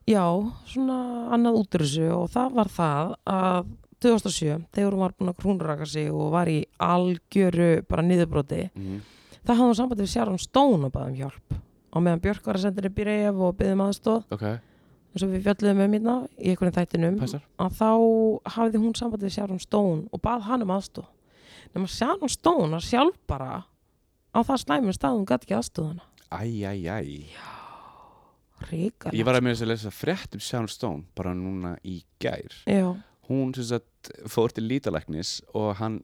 S1: já, svona annað útur þessu og það var það að 2007 þegar hún var búin að krúnraka sig og var í algjöru bara niðurbroti
S2: Mm.
S1: það hafði hún sambandi við Sharon Stone og baðum hjálp og meðan Björk var að senda henni byrjaðið og um byggðum aðstóð
S2: Ok,
S1: eins og við fjöldum um hérna í einhverjum þættinum
S2: Passar.
S1: að þá hafði hún sambandi við Sharon Stone og bað hann um aðstóð nema Sharon Stone var sjálf bara á það slæmum stað hún gæti ekki aðstóð hana
S2: æj, æj, æj.
S1: ríkar
S2: Ég var að meira þess að lesa frétt um Sharon Stone bara núna í gær.
S1: já,
S2: Hún sem sagt fór til lítalæknis og hann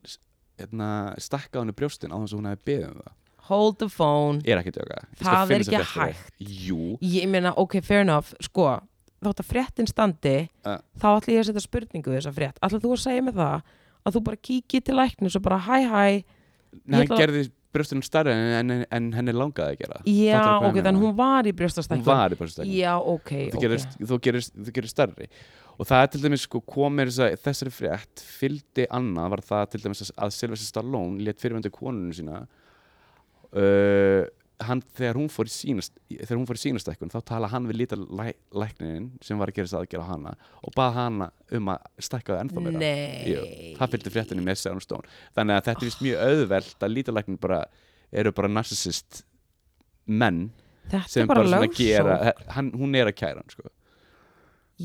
S2: hérna, stakka hann í brjóstin á þess að hún hefði beðið um það.
S1: hold the phone
S2: Ég er ekki að tjóka.
S1: Það er ekki
S2: Jú,
S1: ég meina, ok, fair enough, sko þátt að fréttin standi
S2: Uh.
S1: þá ætla ég að setja spurningu við þessa frétt ætla þú að segja mig það að þú bara kíkir til læknis og bara hæ hæ
S2: Nei, hann
S1: ætla-
S2: gerði brjóstunum stærri en, en, en henni langaði að gera. það.
S1: já,
S2: Fattarðu
S1: ok,
S2: hvað ég meina?
S1: þannig hún var í
S2: hún
S1: brjóstastækjum
S2: var í brjóstunum.
S1: já, ok,
S2: þú
S1: ok
S2: gerist, þú gerist, þú gerist stærri og það er til dæmis sko komir þess að þessari frétt fylgdi annað var það til dæmis að Sylvester Stallone létt fyrirvendu konunum sína uh, hann, þegar hún fór í sínast þegar hún fór í sínastækkun þá tala hann við lítal læ, læknin sem var að gera þess aðgerð á hana og bað hana um að stækka það ennþá meira Jú,
S1: nei
S2: það fylgdi fréttinni með Sharon Stone þannig að þetta er
S1: Ah.
S2: vist mjög auðvelt að lítalæknin bara eru bara narcissist menn
S1: þetta
S2: sem
S1: er bara,
S2: bara,
S1: bara
S2: svona gera hann, hún er að kæra hann sko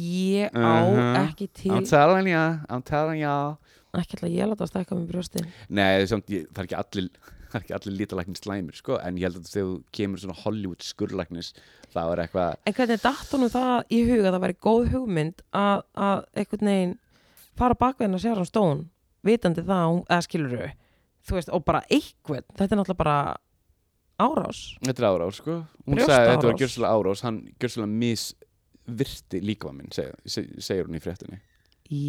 S1: ég á
S2: Mhm.
S1: ekki til
S2: I'm telling ya, I'm telling ya
S1: ekki ætla ég að láta að stækka mér brjóstin
S2: Nei, samt, ég, það er ekki allir það er ekki allir lítalæknir slæmir, sko en ég held að þegar þú kemur svona Hollywood skurlæknis það er eitthvað,
S1: en hvernig datt honum það í huga að það væri góð hugmynd að, að einhvern veginn fara bakveðin að sér hann stón vitandi það, að hún- eða skilur þau þú veist, og bara einhvern þetta er náttúrulega bara árás
S2: þetta er árás, sko hún
S1: Brjósta
S2: sagði að þetta var
S1: árás.
S2: gjörslega árás, hann gjörslega misvirti líka minn seg, seg, segir hún í fréttinni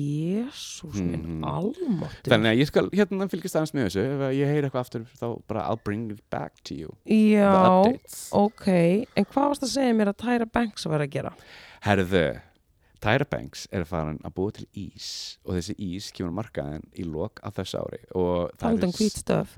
S1: jésús minn,
S2: Mhm.
S1: mm. almáttur
S2: Þannig að ég skal, hérna fylgist aðeins með þessu ef að ég heyri eitthvað aftur, þá bara I'll bring it back to you The
S1: já,
S2: updates.
S1: ok en hvað varst að segja mér að Tyra Banks var að gera
S2: Herðu, Tyra Banks er farin að búa til ís og þessi ís kemur á markaðin í lok af þess ári og það
S1: Þannig um hvít
S2: *laughs*
S1: stöf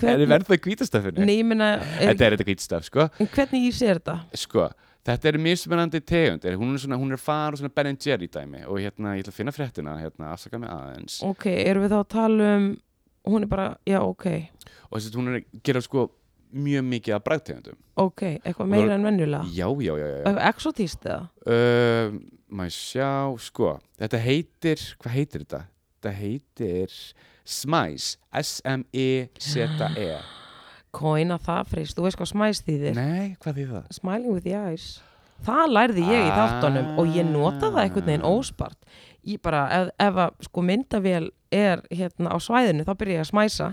S2: er verð það hvítastöfinu
S1: Nei, ég meina, er,
S2: eh? þetta er þetta hvítastöf sko.
S1: en hvernig ís er þetta?
S2: sko þetta er mismunandi tegund Er- hún er, svona, hún er farin og svona Ben Jerry dæmi og hérna ég ætla að finna fréttina hérna afsaka mig aðeins
S1: Ok, erum við þá að tala um Hún er bara, já, ok
S2: og þess að hún er að gera sko mjög mikið af bragtegundum
S1: Ok, eitthvað meira en venjulega
S2: já já já, já, já.
S1: Eitthvað Exotist eða?
S2: Uh, maður sjá, sko þetta heitir, hvað heitir þetta? þetta heitir Smice E
S1: *gasps*
S2: S-M-I-Z-E
S1: Kóina það frist, þú veist hvað smæst í þér
S2: nei, hvað þýð það?
S1: Smiling with the eyes Það lærði ég í
S2: Ah.
S1: þáttunum og ég nota það einhvern veginn óspart Ég bara, ef, ef að sko myndavél er hérna á svæðinu þá byrja ég að smæsa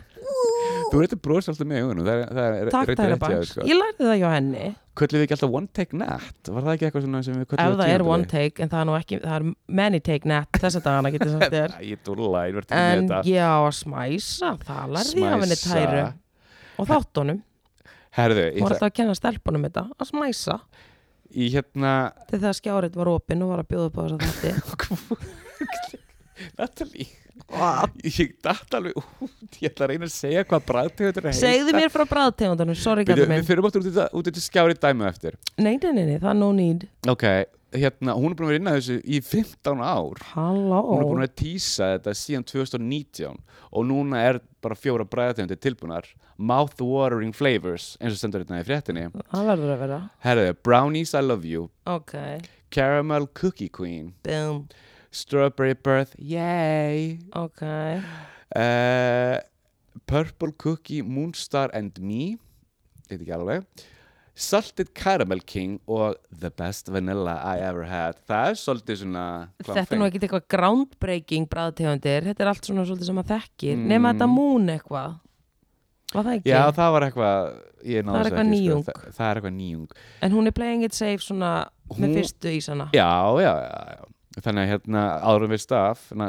S2: þú reyndir brosa alltaf með augunum það er, það er
S1: Takk
S2: reyndar
S1: þær
S2: rétt hjá þér,
S1: banks,
S2: sko.
S1: ég lærði það hjá henni
S2: köllum við ekki alltaf one take nat var það ekki eitthvað svona sem við köllum
S1: ef það er one take en það er nú ekki, það er many take net þessa dagana getur sagt þér
S2: take ég dúla, ég verði ekki
S1: en
S2: með þetta
S1: já, smæsa, það lærði ég af henni
S2: Smæsa.
S1: tæru og þáttunum,
S2: herðu,
S1: hún var
S2: ég, ætla-
S1: alltaf að kenna stelpunum þetta að smæsa,
S2: ég hérna *laughs*
S1: til það skjárið var opinn og var að bjóða upp á þess að þetta
S2: Natalie ég datt alveg út ég ætla að reyna að segja hvað bragtegundur heita
S1: segðu mér frá bræðtegundunum, sorry
S2: Við,
S1: gæti
S2: við
S1: minn
S2: fyrir bóttur út í þetta- út í þetta skjári dæmu eftir
S1: nei, nei, nei, nei, það er no need
S2: Ok, hérna, hún er búin að vera inn að þessu í 15 ár Hún er
S1: halló,
S2: búin að tísa þetta síðan 2019 og núna er bara fjóra bræðategundir tilbúnar Mouthwatering flavors eins og stendur hérna í fréttinni
S1: það verður að vera
S2: Herðu, brownies I love you
S1: ok,
S2: Caramel cookie queen
S1: boom,
S2: Strawberry birth, yay
S1: ok
S2: uh, Purple cookie Moonstar and me Þetta ekki alveg Salted caramel king og the best vanilla I ever had Það er svolítið svona
S1: þetta er nú ekkit eitthvað groundbreaking bræðtegundir, þetta er allt svona svolítið sem að þekkir, nema þetta moon eitthvað var það ekki?
S2: Mm. Já, það var eitthvað ég náði
S1: Það er
S2: þessu
S1: eitthvað
S2: ekki,
S1: nýjung.
S2: sko. það, það er eitthvað nýjung
S1: En hún er playing it safe svona
S2: Hún-
S1: með fyrstu ísana.
S2: Já, já, já, já Þannig að hérna áðurum við staf na,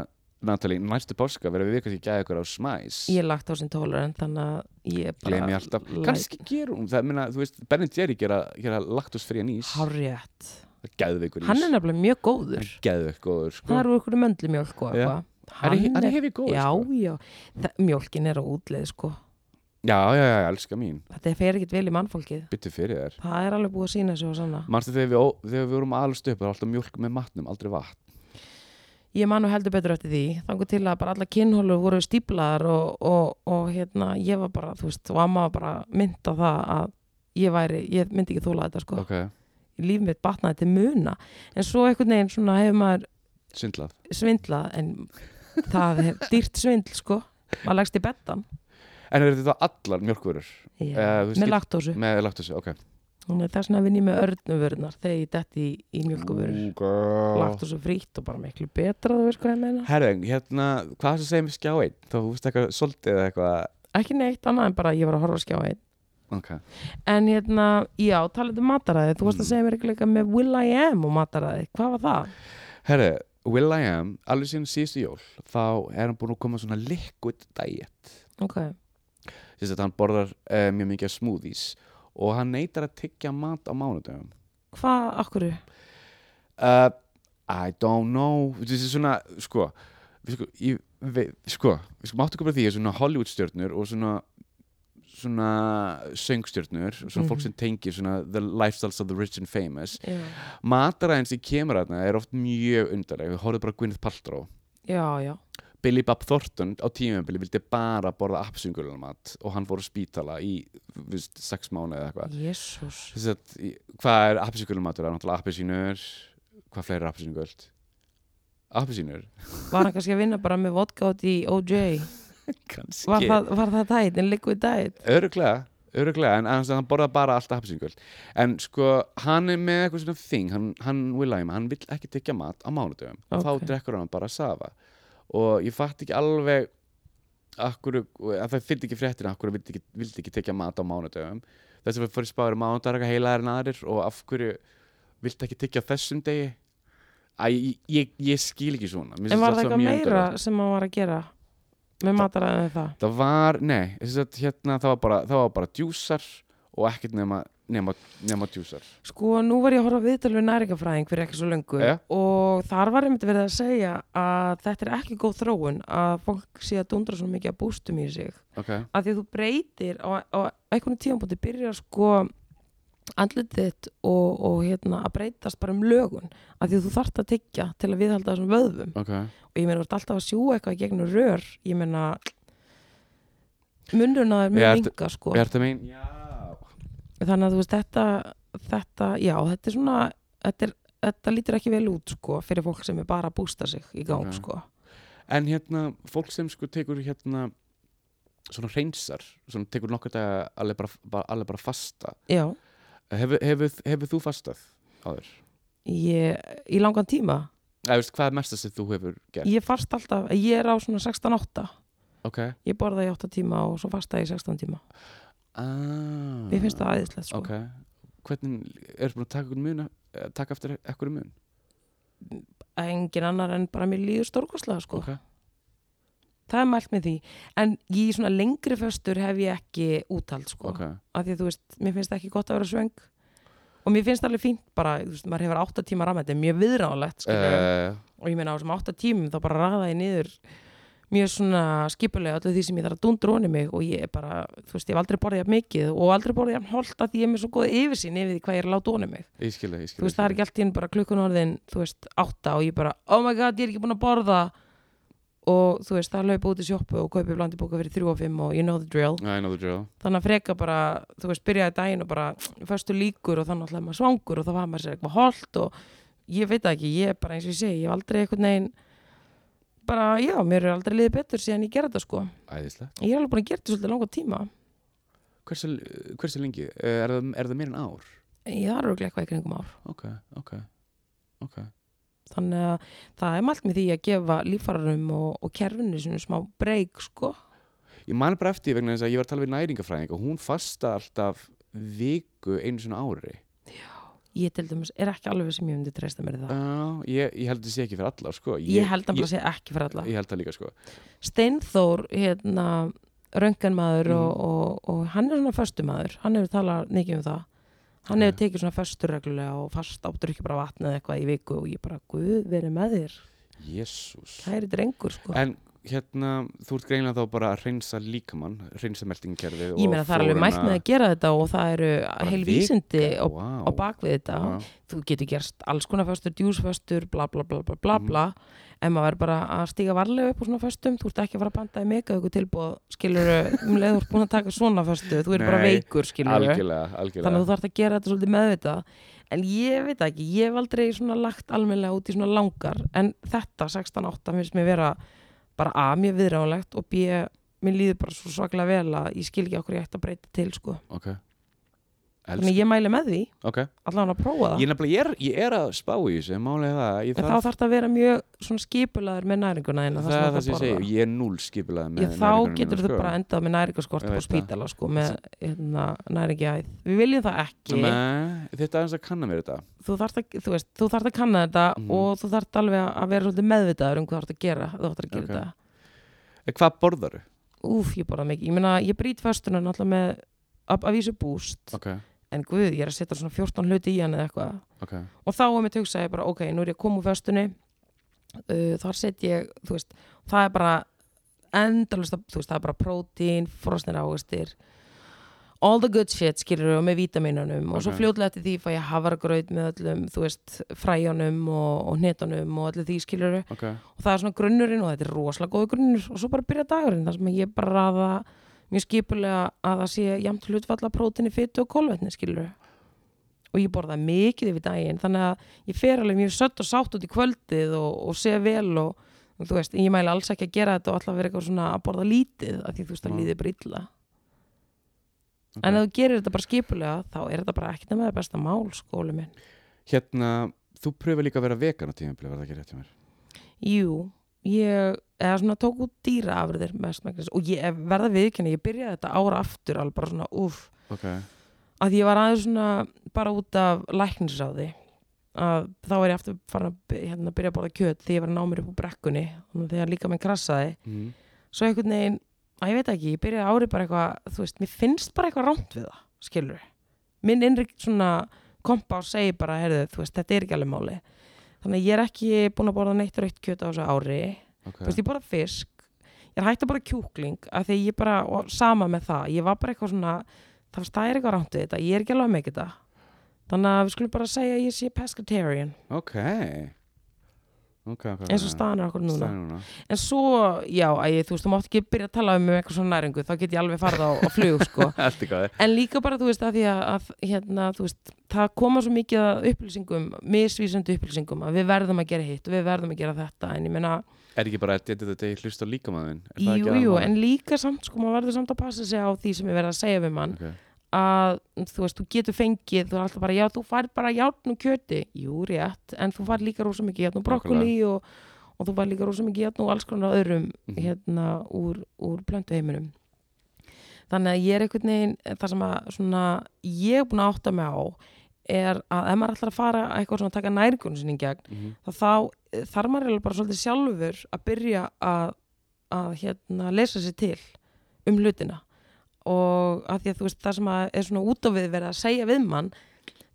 S2: Natalie, næstu páska verðum við kannski að gæða ykkur á smæs
S1: Ég er lagt á sin tolerant þannig að ég bara...
S2: Gleimi alltaf
S1: læt-
S2: Kannski gerum, það minna, þú veist Ben Jerry gera, gera laktusfrían ís
S1: Hárrétt.
S2: Gæðveikur ís
S1: Hann er nefnilega mjög góður.
S2: Gæðveikur,
S1: Það
S2: sko
S1: eru ykkur möndlumjólk og
S2: Já.
S1: eitthvað.
S2: Hann er- hann er hefur góður,
S1: Já,
S2: sko.
S1: já. Það, mjólkin er á útleið, sko.
S2: Já, já, já, elska mín
S1: Þetta fer ekkit vel í mannfólkið.
S2: Byttu fyrir þér
S1: Það er alveg búið að sína sig og svona.
S2: Manstu þegar við, ó- þegar við vorum alast upp Það var alltaf mjólk með matnum, aldrei vatn
S1: Ég man nú heldur betur eftir því. Þangur til að bara alla kinnhólur voru stíplaðar og, og, og hérna, ég var bara, þú veist, og amma var bara mynd á það að ég væri, ég myndi ekki þúla þetta, sko.
S2: Ok,
S1: líf mitt batnaði til muna en svo einhvern veginn svona hefur maður
S2: syndlað
S1: svindlað en það er dýrt svindl sko maður lagst í bettan
S2: En er þetta allar mjólkurur Eh, þú
S1: yeah.
S2: veist,
S1: með
S2: ég-
S1: laktósu
S2: með laktusi, ok
S1: hún er þess vegna vinn ég með örnuvörnar þegar ég detti í, í mjölkuvörur
S2: Mjólkurur
S1: laktósu frítt og bara miklu betra þú veist hvað ég meina
S2: Herðing, hérna, hvað er það að segja með skjá einn? Þá þú veist eitthvað svolítið eða eitthvað
S1: ekki neitt annað en bara ég var að horfa að skjá einn
S2: Ok,
S1: en hérna, já, talandi um mataræði þú
S2: Mm.
S1: varst að segja mér ekki leika með Will I Am og mataræði, hvað var það?
S2: herðu, Will I Am, alveg síðan síðustu jól þá er hann búinn að koma svona liquid diet
S1: ok,
S2: þess að hann borðar uh, mjög mikið af smoothies og hann neytar að tyggja mat á mánudöfum
S1: hvað, okkur
S2: uh, I don't know þessi svona, sko við sko, ég, við, sko, við sko máttu bara því að svona Hollywoodstjörnur og svona svona söngstjörnur svona fólk sem tengir svona the lifestyles of the rich and famous
S1: já,
S2: mataræðin sem kemur aðna er oft mjög undarleg við horfum bara á Gwyneth Paltrow
S1: já, já,
S2: Billy Bob Thornton á tímjömbili vildi bara borða apsingulunmat og hann fór á spítala í viðst, sex mánu eða eitthvað
S1: jésús
S2: Þess að, í- hvað er apsingulunmatur? Það er náttúrulega apelsínur hvað fleiri er apelsínugöld? apelsínur?
S1: Var hann kannski að vinna bara með vodka út í OJ? Var
S2: kannski
S1: það, var það dæt, en liquid dæt?
S2: öruglega, öruglega en annars að hann borða bara allt apelsínugöld en sko, hann er með eitthvað svona þing hann, hann vil æma, hann vil ekki tekja mat á mánudöfum og
S1: Ok.
S2: þá drekkur hann bara safa og ég fatt ekki alveg akkur, að það fylgdi ekki fréttina akkur vildi ekki, vildi ekki tekja mat á mánudöfum þess að við fyrir spáður mánudar eitthvað heilaðir en aðrir og af hverju vildi ekki tekja á þessum degi Æ, ég, ég, ég skil ekki svona Mér
S1: En
S2: finnst
S1: var
S2: allt
S1: það
S2: svo
S1: eitthvað
S2: mjög
S1: meira
S2: undarlegt.
S1: sem hann var að gera? Með mataræðin það?
S2: Það var, nei, þess að hérna það var bara, það var bara djúsar og ekkert nema nema, nema tjúsar
S1: Sko, nú var ég að horfa á viðtal við næringafræðing fyrir ekki svo löngu
S2: Jæja.
S1: og þar var einmitt verið að segja að þetta er ekki góð þróun að fólk sé að dundra svo mikið að bústum í sig
S2: ok,
S1: að því að þú breytir á, á einhvern tíðanbúti byrjar sko andlit þitt og, og hérna að breytast bara um lögun að því að þú þarft að tyggja til að viðhalda þessum vöðvum
S2: ok
S1: og ég meina þú ert alltaf að sjúa eitthvað í gegnum rör ég meina munnurna er
S2: Ég
S1: mjög
S2: ert-
S1: ynga sko
S2: er þetta mín? já,
S1: þannig að þú veist þetta, þetta já þetta er svona þetta, er, þetta lítur ekki vel út sko fyrir fólk sem er bara að bústa sig í gang
S2: Ok.
S1: sko
S2: En hérna, fólk sem sko tekur hérna svona hreinsar, svona tekur nokkur daga alveg bara, bara, alveg bara fasta
S1: já,
S2: hefur hefur hefur þú fastað áður?
S1: ég, í langan tíma
S2: Eða veist, hvað er mesta sem þú hefur gert?
S1: ég fast alltaf, ég er á svona 16-8
S2: Ok
S1: ég borða í 8 tíma og svo fasta í 16 tíma
S2: ah,
S1: mér finnst það aðeinslegt sko.
S2: Ok, hvernig, er búin að taka okkur mun eh, taka eftir ekkur mun?
S1: engin annar en bara mér líður stórkoslega sko.
S2: Ok,
S1: það er mælt með því en í svona lengri föstur hef ég ekki úthald sko.
S2: ok
S1: af því að þú veist, mér finnst ekki gott að vera svöng og mér finnst alveg fínt bara, þú veist, maður hefur 8 tíma rammet er mjög viðránlegt uh.
S2: Eh,
S1: og ég meina á þessum 8 tímum þá bara raða ég niður mjög svona skipulega öllu því sem ég þarf að dundra onni mig og ég er bara, þú veist, ég hef aldrei borðið jafn mikið og aldrei borðið jafn holt að því ég er með svo góð yfirsýn yfir því hvað ég er að láta onni mig
S2: Ég skil það, ég skil
S1: þú veist, það er ekki allt í enn bara klukkun orðin þú veist, átta og ég bara oh my god, ég er ekki búin að borða og þú veist, það laupa út í sjoppu og kaupi blandi bóka fyrir 3 og 5 og you know the drill
S2: I know the drill
S1: þannig að freka bara, þú veist, byrjaði daginn og bara föstu líkur og þannig að maður svangur og þá var maður sér eitthvað holt og ég veit það ekki, ég er bara eins og ég segi ég hef aldrei eitthvað negin bara, já, mér er aldrei liðið betur síðan ég gera þetta sko
S2: Æðislega
S1: ég er alveg búin að gera þetta svolítið langa tíma
S2: Hversu, hversu lengi? Eh, Er það, er það meir en ár?
S1: ég þarf örugglega eitthvað í kringum ár
S2: Ok, ok Ok
S1: þannig að það er mælt með því að gefa líffararum og, og kerfinu sinni smá breyk sko
S2: Ég man bara eftir vegna þess að ég var að tala við næringafræðing og hún fasta alltaf viku einu svona ári.
S1: ég til dæmis er ekki alveg sem ég myndi treysta mér í það
S2: Já, ég, ég held að það sé ekki fyrir alla, sko.
S1: ég held að bara sé ekki fyrir alla
S2: Ég held það líka, sko.
S1: Steinþór hérna rönganmaður og, og, og hann er svona föstumaður, hann hefur talað mikið um það hann hefur tekið svona föstur reglulega og fast áttur ekki bara vatnið eitthvað í viku og ég bara, guð, verið með þér
S2: Jésús.
S1: kæri drengur sko
S2: En hérna, þú ert greinlega þá bara að reynsa líkamann, reynsa meltingkerfið og
S1: ég meina það er alveg mælt með að gera þetta og það eru heil vísindi á,
S2: wow.
S1: á bakvið þetta þú getur gerst alls konar föstur, djúsföstur, bla bla bla bla
S2: Mm.
S1: bla bla en maður verður bara að stíga varlega upp úr svona föstum, þú ert ekki að fara að banda í mega ykkur tilbúð, skilur um leið þú ert búin að taka svona föstu, þú er bara
S2: Nei,
S1: veikur skilur
S2: Algjörlega, algjörlega.
S1: þannig að þú þarf að gera þetta svolítið meðvitað en ég veit ekki, ég hef aldrei svona lagt almennilega út í svona langar en þetta 16-8 finnst mér vera bara A, mér viðránlegt og B, mér líður bara svo svaklega vel að ég skil ekki okkur ég ætti að breyta til sko.
S2: Ok.
S1: þannig að
S2: Elsku.
S1: ég mæli með því,
S2: Ok.
S1: allan að prófa það
S2: Ég, nefnilega- ég, er, ég er að spá í þessu, málega það. að Ég
S1: En þá
S2: þarf-
S1: þarf þetta að vera mjög svona skipulaður með næringuna þína,
S2: það er það sem
S1: sem
S2: ég
S1: þú ert að
S2: segi, ég er núll
S1: borða.
S2: skipulað með
S1: Já, þá
S2: næringunum
S1: getur þú
S2: mínum, sko.
S1: bara endað með næringaskort
S2: Ég
S1: á
S2: veit það.
S1: spítala, sko, með hérna, næringjæð. Við viljum það ekki.
S2: Nei, þetta er aðeins að kanna mér þetta
S1: Þú þarft að, þú veist, þú þarft að kanna þetta
S2: Mhm.
S1: og þú þarft alveg að vera svolítið meðvitaður um hvað þú þarft að gera. Þú þarft að gera
S2: Ok.
S1: þetta.
S2: Eh, Hvað borðaru?
S1: Úf, ég borða mikið. Ég meina, ég brýt föstuna náttúrulega með að, að vísu búst.
S2: Ok,
S1: En guð, ég er að setja svona 14 hluti í hann eða eitthvað.
S2: ok
S1: og þá er mér tugsa ég bara ok, nú er ég að koma úr föstunni uh, þar set ég, þú veist það er bara endalust þú veist, það er bara prótín, frosnir águstir all the good shit skilur og með vítaminunum og svo
S2: Ok.
S1: fljótlega eftir því fæ ég hafaragraut með öllum þú veist, fræjunum og, og hnetunum og öllu því skilur
S2: Ok,
S1: og það er svona grunnurinn og þetta er rosalega góð grunnur og svo bara byrja dagurinn þar sem ég bara raða mjög skipulega að það sé jæmt hlutfalla prótinni fytu og kolvetni skilur og ég borða mikið yfir daginn þannig að ég fer alveg mjög sött og sátt út í kvöldið og, og sé vel og, og þú veist, ég mæli alls ekki að gera þetta og alltaf vera eitthvað svona að borða lítið af því þú veist að
S2: Vá.
S1: líði bara illa
S2: Ok.
S1: en ef þú gerir þetta bara skipulega þá er þetta bara ekkert með það besta mál skóli minn
S2: Hérna, þú pröfur líka að vera vegan á tímabili Var það ekki rétt hjá mér?
S1: Jú, ég eða svona tók út dýraafriðir mestmæknis og ég ef- verða viðkynna, ég byrjaði þetta ára aftur alveg bara svona úff
S2: Ok,
S1: að ég var aðeins svona bara út af læknisráði að þá er ég aftur farin að by- hérna, byrja að borða kjöt því ég var að ná mér upp úr brekkunni þannig að þegar líka minn krassaði
S2: mm.
S1: svo einhvern veginn, að ég veit ekki, ég byrjaði árið bara eitthvað þú veist, mér finnst bara eitthvað rámt við það skilur minn innri svona kompás segir bara, heyrðu, þú veist, þetta er ekki alveg máli þannig að ég er ekki búin að borða neitt rautt kjöt á þessu ári
S2: ok.
S1: þú veist, ég borða fisk ég er hægt að borða kjúkling af því að ég bara, og sama með það ég var bara eitthvað svona, það, var- það er eitthvað rámt við þetta ég er ekki alveg með þetta þannig að við skulum bara segja að ég sé pescatarian
S2: Ok Ok, ok
S1: eins og
S2: ok.
S1: staðan er okkur núna
S2: Staðan núna
S1: en svo, já, æ, þú veist, þú mátt ekki byrja að tala um eitthvað svona næringu, þá get ég alveg farið á, á flug,
S2: *laughs*
S1: sko,
S2: Allt í góði
S1: en líka bara, þú veist, að því að, að hérna, þú veist, það koma svo mikið að upplýsingum, misvísandi upplýsingum að við verðum að gera hitt og við verðum að gera þetta en ég meina,
S2: Er ekki bara að þetta degi hlust á líkamæðin?
S1: jú, jú, en líka samt, sko, maður verður samt að passa sig á því sem ég verð að segja við mann,
S2: okay.
S1: að þú veist, þú getur fengið, þú er alltaf bara, já, þú fær bara játn og kjöti, jú, rétt, en þú fær líka rosa mikið játn og brokkoli og, og þú fær líka rosa mikið játn og alls konar af öðrum
S2: Mhm.
S1: hérna úr, úr plöntu heiminum. Þannig að ég er einhvern veginn, það sem að svona, ég er búin að átta mig á er að ef maður ætlar að fara að eitthvað svona að taka nærgunum sinni í gegn,
S2: mm -hmm.
S1: þá, þá eh, þarf maður eiginlega bara svolítið sjálfur að byrja að, að hérna, lesa sér til um hlutina og að því að þú veist það sem að er svona út á við verið að segja við mann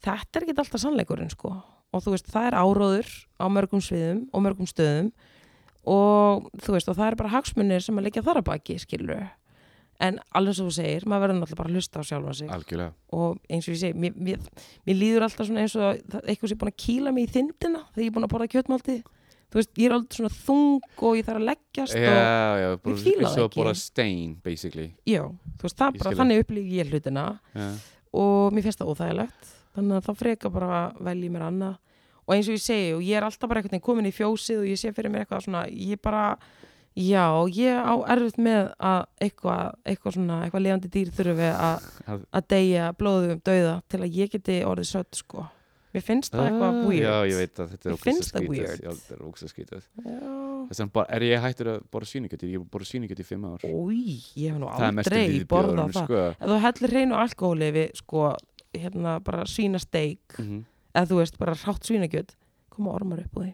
S1: þetta er ekki alltaf sannleikurinn sko og þú veist það er áróður á mörgum sviðum og mörgum stöðum og þú veist og það er bara hagsmunir sem að leggja þar að baki skilur en alveg svo þú segir, maður verður náttúrulega bara að hlusta á sjálfan sig
S2: Algjörlega
S1: og eins og ég segi, mér, mér, mér líður alltaf svona eins og að það- eitthvað sem er búin að kýla mig í þindina þegar ég er búin að borða kjötmálti þú veist, ég er aldrei svona þung og ég þarf að leggjast og,
S2: Já, já, bara
S1: fíla það
S2: eins og að
S1: ekki.
S2: borða stein basically
S1: já, þú veist, það
S2: Ég
S1: bara,
S2: skil
S1: þannig upplýði ég hlutina
S2: Já,
S1: og mér finnst það óþægilegt þannig að þá frekar bara velji mér annað og eins og ég segi, og ég er alltaf bara einhvern veginn komin í fjósið og ég sé fyrir mér eitthvað svona ég bara, já, ég á erfitt með að eitthvað eitthvað svona, eitthvað lefandi dýr þurfi að
S2: Að-
S1: að deyja blóðum dauða til að ég geti orðið sött, sko mér finnst það eitthvað
S2: Ah,
S1: weird
S2: Já, ég veit að þetta er
S1: Mér finnst það
S2: ógeðslega
S1: weird.
S2: Já, þetta er ógsta skrítið
S1: Já.
S2: Þess vegna bara- er ég hættur að borða sýningjöti Ég er búin að borða sýningjöti í fimm ár
S1: Új, ég hef nú
S2: Það er mestu
S1: aldrei borðað
S2: viðbjóðurinn,
S1: það
S2: sko
S1: ef þú hellir hreinu alkohóli við sko, hérna bara svínasteik
S2: mm -hmm.
S1: eða þú veist bara rátt svínakjöt koma ormar upp á því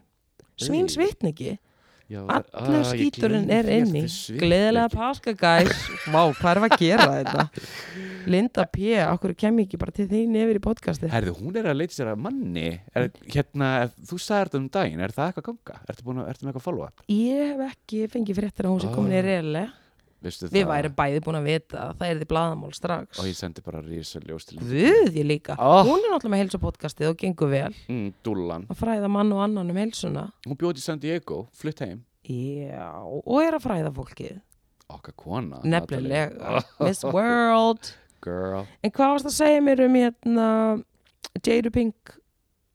S1: svínsvitningi,
S2: Já,
S1: allur
S2: ah, ég
S1: skíturinn
S2: gleymdi
S1: er
S2: því að
S1: inni
S2: þetta er svipniki.
S1: gleðilega páska guys má, hvað er að gera þetta
S2: *laughs*
S1: Linda P, okkur kem ég ekki bara til þín yfir í podcasti
S2: Herðu, hún er að leita sér að manni er, hérna, ef þú sagði þetta um daginn, er það eitthvað að ganga? Ertu, búin að, ertu með eitthvað að followa?
S1: ég hef ekki fengið fréttir að hún sé komin í
S2: Ah.
S1: reyle
S2: Vistu
S1: við
S2: það?
S1: væri bæði búin að vita að það er því blaðamál strax
S2: Og ég sendi bara rísa ljós til
S1: Guð ég líka,
S2: Ah.
S1: hún er náttúrulega með heilsu podcastið og gengur vel
S2: mm, Dúllan
S1: að fræða mann og annan um heilsuna
S2: Hún bjóði í San Diego, flutt heim
S1: já, og er að fræða fólkið
S2: Okkar kona
S1: nefnilega,
S2: *laughs* Natalie.
S1: Miss World
S2: Girl
S1: en hvað varst að segja mér um hérna Jada Pink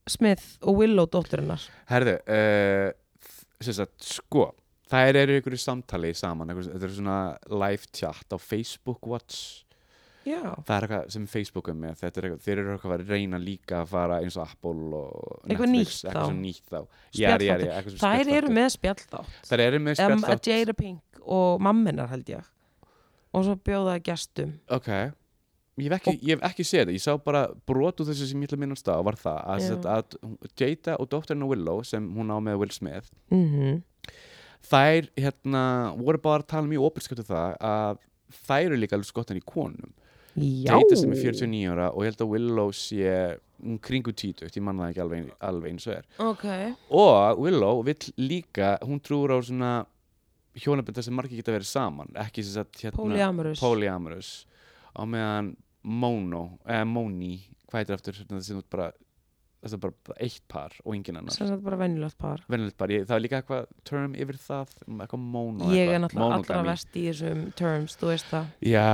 S1: Smith og Willow dótturinnar
S2: Herðu, uh, sem sagt, sko Þær eru ykkur í samtali saman ykkur, Þetta er svona live chat á Facebook Watch
S1: já,
S2: Það er eitthvað sem Facebook er með Þetta er eitthvað, þeir eru eitthvað að reyna líka að fara eins og Apple og
S1: Eitthvað
S2: Netflix
S1: nýtt
S2: Eitthvað
S1: þá.
S2: sem nýtt þá Já, já, já, eitthvað sem
S1: þær
S2: spjallþáttur.
S1: eru með spjallþátt
S2: Þær eru með
S1: um,
S2: spjallþátt
S1: Jada Pink og mamminar held ég og svo bjóða gestum
S2: Ok Ég hef, ekki, ég hef ekki séð þetta, ég sá bara brot úr þessu sem ég ætla að minnast á var það að,
S1: Já.
S2: yeah. að hún- Jada og dótturinn á Willow sem hún á með Will Smith
S1: mm
S2: Mhm. þær hérna voru bara að tala mjög opilskjöptu það að þær eru líka alveg skottan í konum
S1: já,
S2: Jada sem er 49 ára og ég held að Willow sé mm, kringu títugt, ég manna það ekki alveg, alveg eins og er
S1: ok
S2: og Willow vill líka, hún trúur á svona hjónabend þar sem margir geta verið saman ekki sem sagt hérna
S1: Polyamorous
S2: polyamorous á meðan mono, eða moni hvað heitir aftur, hérna, það sem út bara það er bara eitt par og engin annar
S1: sem þetta bara venjulegt par
S2: venjulegt par, ég, það er líka eitthvað term yfir það, eitthvað mono
S1: ég
S2: eitthvað,
S1: er náttúrulega allra
S2: monogamy.
S1: vest í þessum terms, þú veist það
S2: já,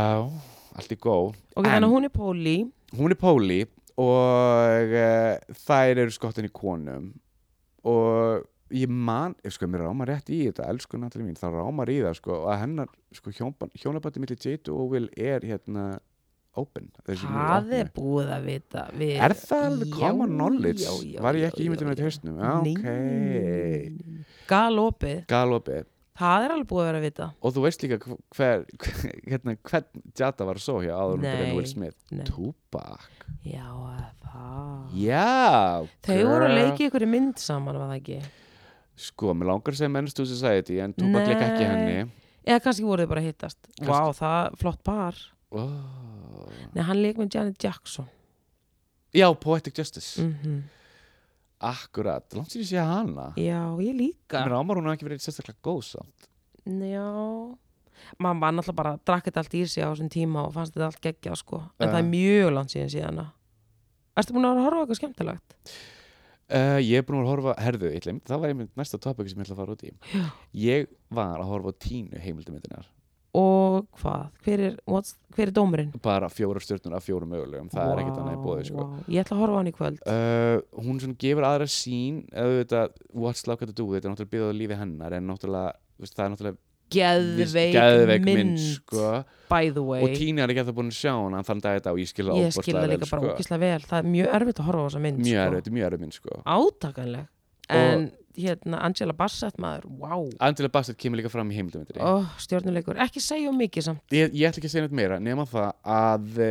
S2: allt í góð
S1: ok,
S2: En-
S1: þannig að hún er Póli
S2: hún er Póli og uh, þær eru skottin í konum og ég man, ef sko, mér rámar rétt í þetta elsku Natalie mín, það rámar í það sko, að hennar, sko, hjónabandi millir Jade og Will er hérna open, þessi
S1: það er búið að vita við...
S2: er það alveg common knowledge var ég ekki ímyndin
S1: já.
S2: með þetta hausnum já, ok,
S1: Nei. galopið,
S2: galopi
S1: það er alveg búið að vera að vita
S2: og þú veist líka hver, hver *laughs* hérna, hvern Jada var svo hjá áður um
S1: Nei.
S2: byrjan Will Smith,
S1: Nei.
S2: Tupac
S1: já, það
S2: já,
S1: þau voru að
S2: girl.
S1: leiki ykkur mynd saman var það ekki
S2: Sko, mér langar að segja Men's to Society en Tupac leik ekki
S1: Nei.
S2: henni
S1: eða kannski voru þau bara að hittast
S2: Kannski.
S1: vá, það, flott par
S2: oh.
S1: Nei, hann leik með Janet Jackson
S2: já, Poetic Justice
S1: mm
S2: akkurat, langt sér ég sé hana
S1: já, ég líka
S2: mér ámar hún hafi ekki verið sérstaklega góð samt
S1: já mamma náttúrulega bara drakk þetta allt í sig á þessum tíma og fannst þetta allt geggjað sko en það er mjög langt síðan síðan Erstu búin að vera að horfa á eitthvað skemmtilegt?
S2: uh, ég er búin að horfa, herðu, ég glemt það var einmitt næsta topic sem ég ætla að fara út í
S1: Já.
S2: ég var að horfa á tínu heimildamöndunar
S1: Og hvað? Hver er, what's, hver er dómurinn?
S2: bara fjórar stjórnur af fjórum mögulegum það er ekkert annað í bóði sko.
S1: Vá, Ég ætla að horfa á hann í kvöld
S2: uh, hún svona gefur aðra sín auðvitað, what's love got to do with it er náttúrulega byggðað á lífi hennar en náttúrulega, þú veist, það er náttúrulega
S1: Geðveik,
S2: geðveik
S1: mynd,
S2: sko.
S1: by the way
S2: og Tína er ekki alltaf búin að sjá hana þann dag þetta og ég skil það
S1: Ég skil það
S2: ofboðslega vel,
S1: líka bara
S2: sko.
S1: ókíslega vel Það er mjög erfitt að horfa á þessa mynd
S2: mjög
S1: sko.
S2: erfið, þetta er mjög erfið minn sko
S1: Átakanleg En hérna Angela Bassett maður, wow
S2: Angela Bassett kemur líka fram í heimildamindri
S1: oh, Stjórnuleikur, ekki segja um mikið samt
S2: ég, ég ætla ekki að segja neitt meira nema það að e,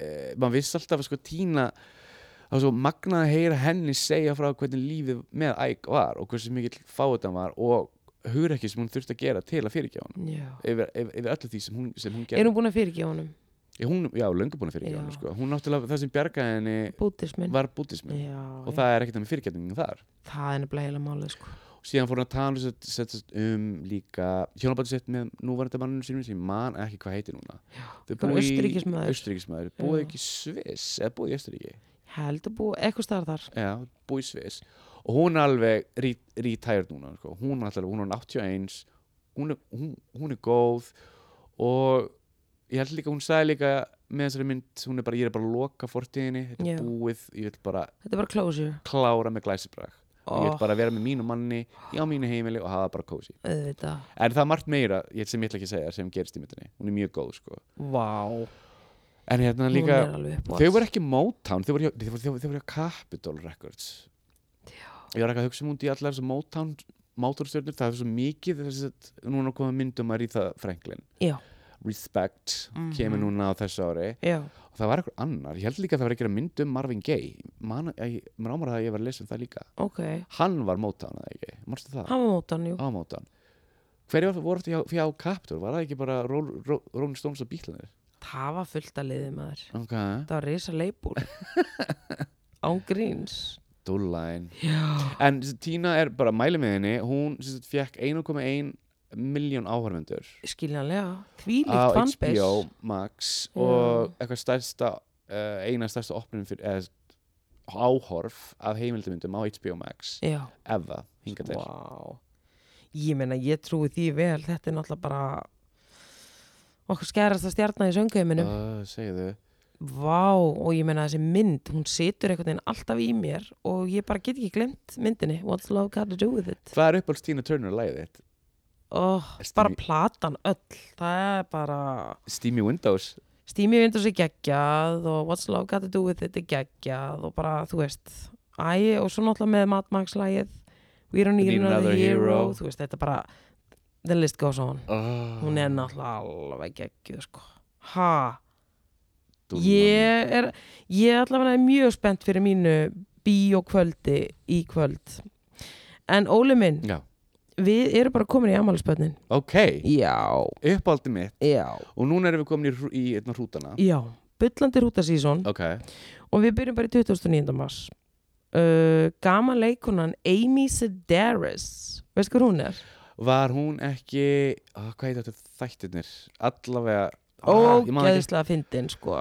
S2: e, maður vissi alltaf að sko Tína það var svo magnað að heyra henni segja frá hvernig lífið með æg var og hversu mikill fáið hann var og hugur sem hún þurfti að gera til að fyrirgjá hann
S1: Já.
S2: yfir, yfir, yfir öllu því sem hún, sem hún
S1: Er
S2: gerði
S1: hún búin að fyrirgefa honum?
S2: Ég, hún, já, löngu búin að fyrirgjá
S1: Já.
S2: hann sko. hún náttúrulega, það sem bjargaði henni
S1: Bútismin
S2: var bútismin
S1: Já,
S2: og
S1: það,
S2: það er ekkert með fyrirgjætningin þar
S1: það er nefnilega heila málið sko.
S2: síðan fór hann að tala um set- set- um líka hjónabættu sett með núvarandi manninu sínum sem ég man ekki hvað heitir núna þau
S1: Hvað er Austurríkismaður?
S2: Austuríkismæður, búið
S1: Já.
S2: ekki í Sviss eða búið í Austuríki,
S1: Heldur bú, eitthvað starf þar
S2: já, búið í Sviss og hún er alveg re- retired núna sko. hún er alltaf, hún er orðin 81 hún er, hún, hún er góð og ég held líka hún sagði líka með þessari mynd hún er bara, ég er bara að loka fortíðinni þetta
S1: Já.
S2: er búið, ég vil bara
S1: Þetta er bara closure
S2: klára með glæsibrag og
S1: oh,
S2: ég vil bara vera með mínu manni á mínu heimili og hafa bara kósi
S1: Auðvitað
S2: en það er margt meira ég- sem ég ætla ekki að segja sem gerist í myndinni hún er mjög góð sko
S1: Vá wow.
S2: en hérna
S1: Hún
S2: líka
S1: er alveg upp á
S2: þau voru ekki Motown þau voru, hjá- þau voru, þau voru, þau voru hjá Capitol Records ég var ekki að hugsa múndi í allar þessar Motown Motorstjörnur það er svo mikið þess að núna koma myndum að ríða um Franklin
S1: Já,
S2: Respect
S1: Mhm.
S2: kemur núna á þessu ári
S1: já
S2: og það var eitthvað annar ég held líka að það var ekki að mynd um Marvin Gaye Man, ég, mér ámar það að ég var að lesa um það líka
S1: Ok,
S2: hann var Motown eða ekki, marstu það?
S1: hann var mótan, jú
S2: á mótan hverju var- voru þetta fyrir á Capitol var það ekki bara Rol- Ro- Rolling Stones og Beatles
S1: Það var fullt að liði maður
S2: ok,
S1: Það var reysa
S2: *laughs*
S1: leipur Án gríns
S2: dúllæn
S1: Já
S2: en þessi Tina er bara mæli með henni hún sem sagt, fekk 1,1 miljón áhörfundur
S1: Skiljanlega, þvílíkt
S2: á
S1: fanbase
S2: HBO Max og eitthvað stærsta uh, eina stærsta opnum fyrir eða, áhorf af heimildamindum á HBO Max
S1: Já,
S2: eða hingað til
S1: wow. Ég meina, ég trúi því vel Þetta er náttúrulega bara Okkur skerast að stjarna í söngveiminum
S2: uh, segðu
S1: Vá, og ég meina þessi mynd Hún situr einhvern veginn alltaf í mér Og ég bara get ekki glemt myndinni What's love got to do with it
S2: hvað er uppáhalds Tina Turner lagið þitt?
S1: oh,
S2: Ertu
S1: Bara
S2: mjög-
S1: platan öll Það er bara
S2: Steamy Windows
S1: Steamy Windows er geggjað og What's Love Got To Do With It er geggjað og bara, þú veist, æ, og svo náttúrulega með Mad Max lagið We Don't Need Another Hero, þú veist, þetta bara The List Goes On,
S2: oh,
S1: hún er náttúrulega alveg geggjuð, sko ha, ég er ég allavega er mjög spennt fyrir mínu bíókvöldi í kvöld en Óli minn,
S2: já,
S1: við erum bara komin í amálisbönnin
S2: ok
S1: já,
S2: uppáldi mitt
S1: já,
S2: og núna erum við komin í, hrú- í einna hrútana
S1: já byllandi rútasísón
S2: ok,
S1: og við byrjum bara í 2009. mars uh, gaman leikunan Amy Sedaris veist hvað hún er?
S2: var hún ekki oh, hvað heit þetta þættirnir allavega Ah, ég man ekki.
S1: ógeðslega fyndin sko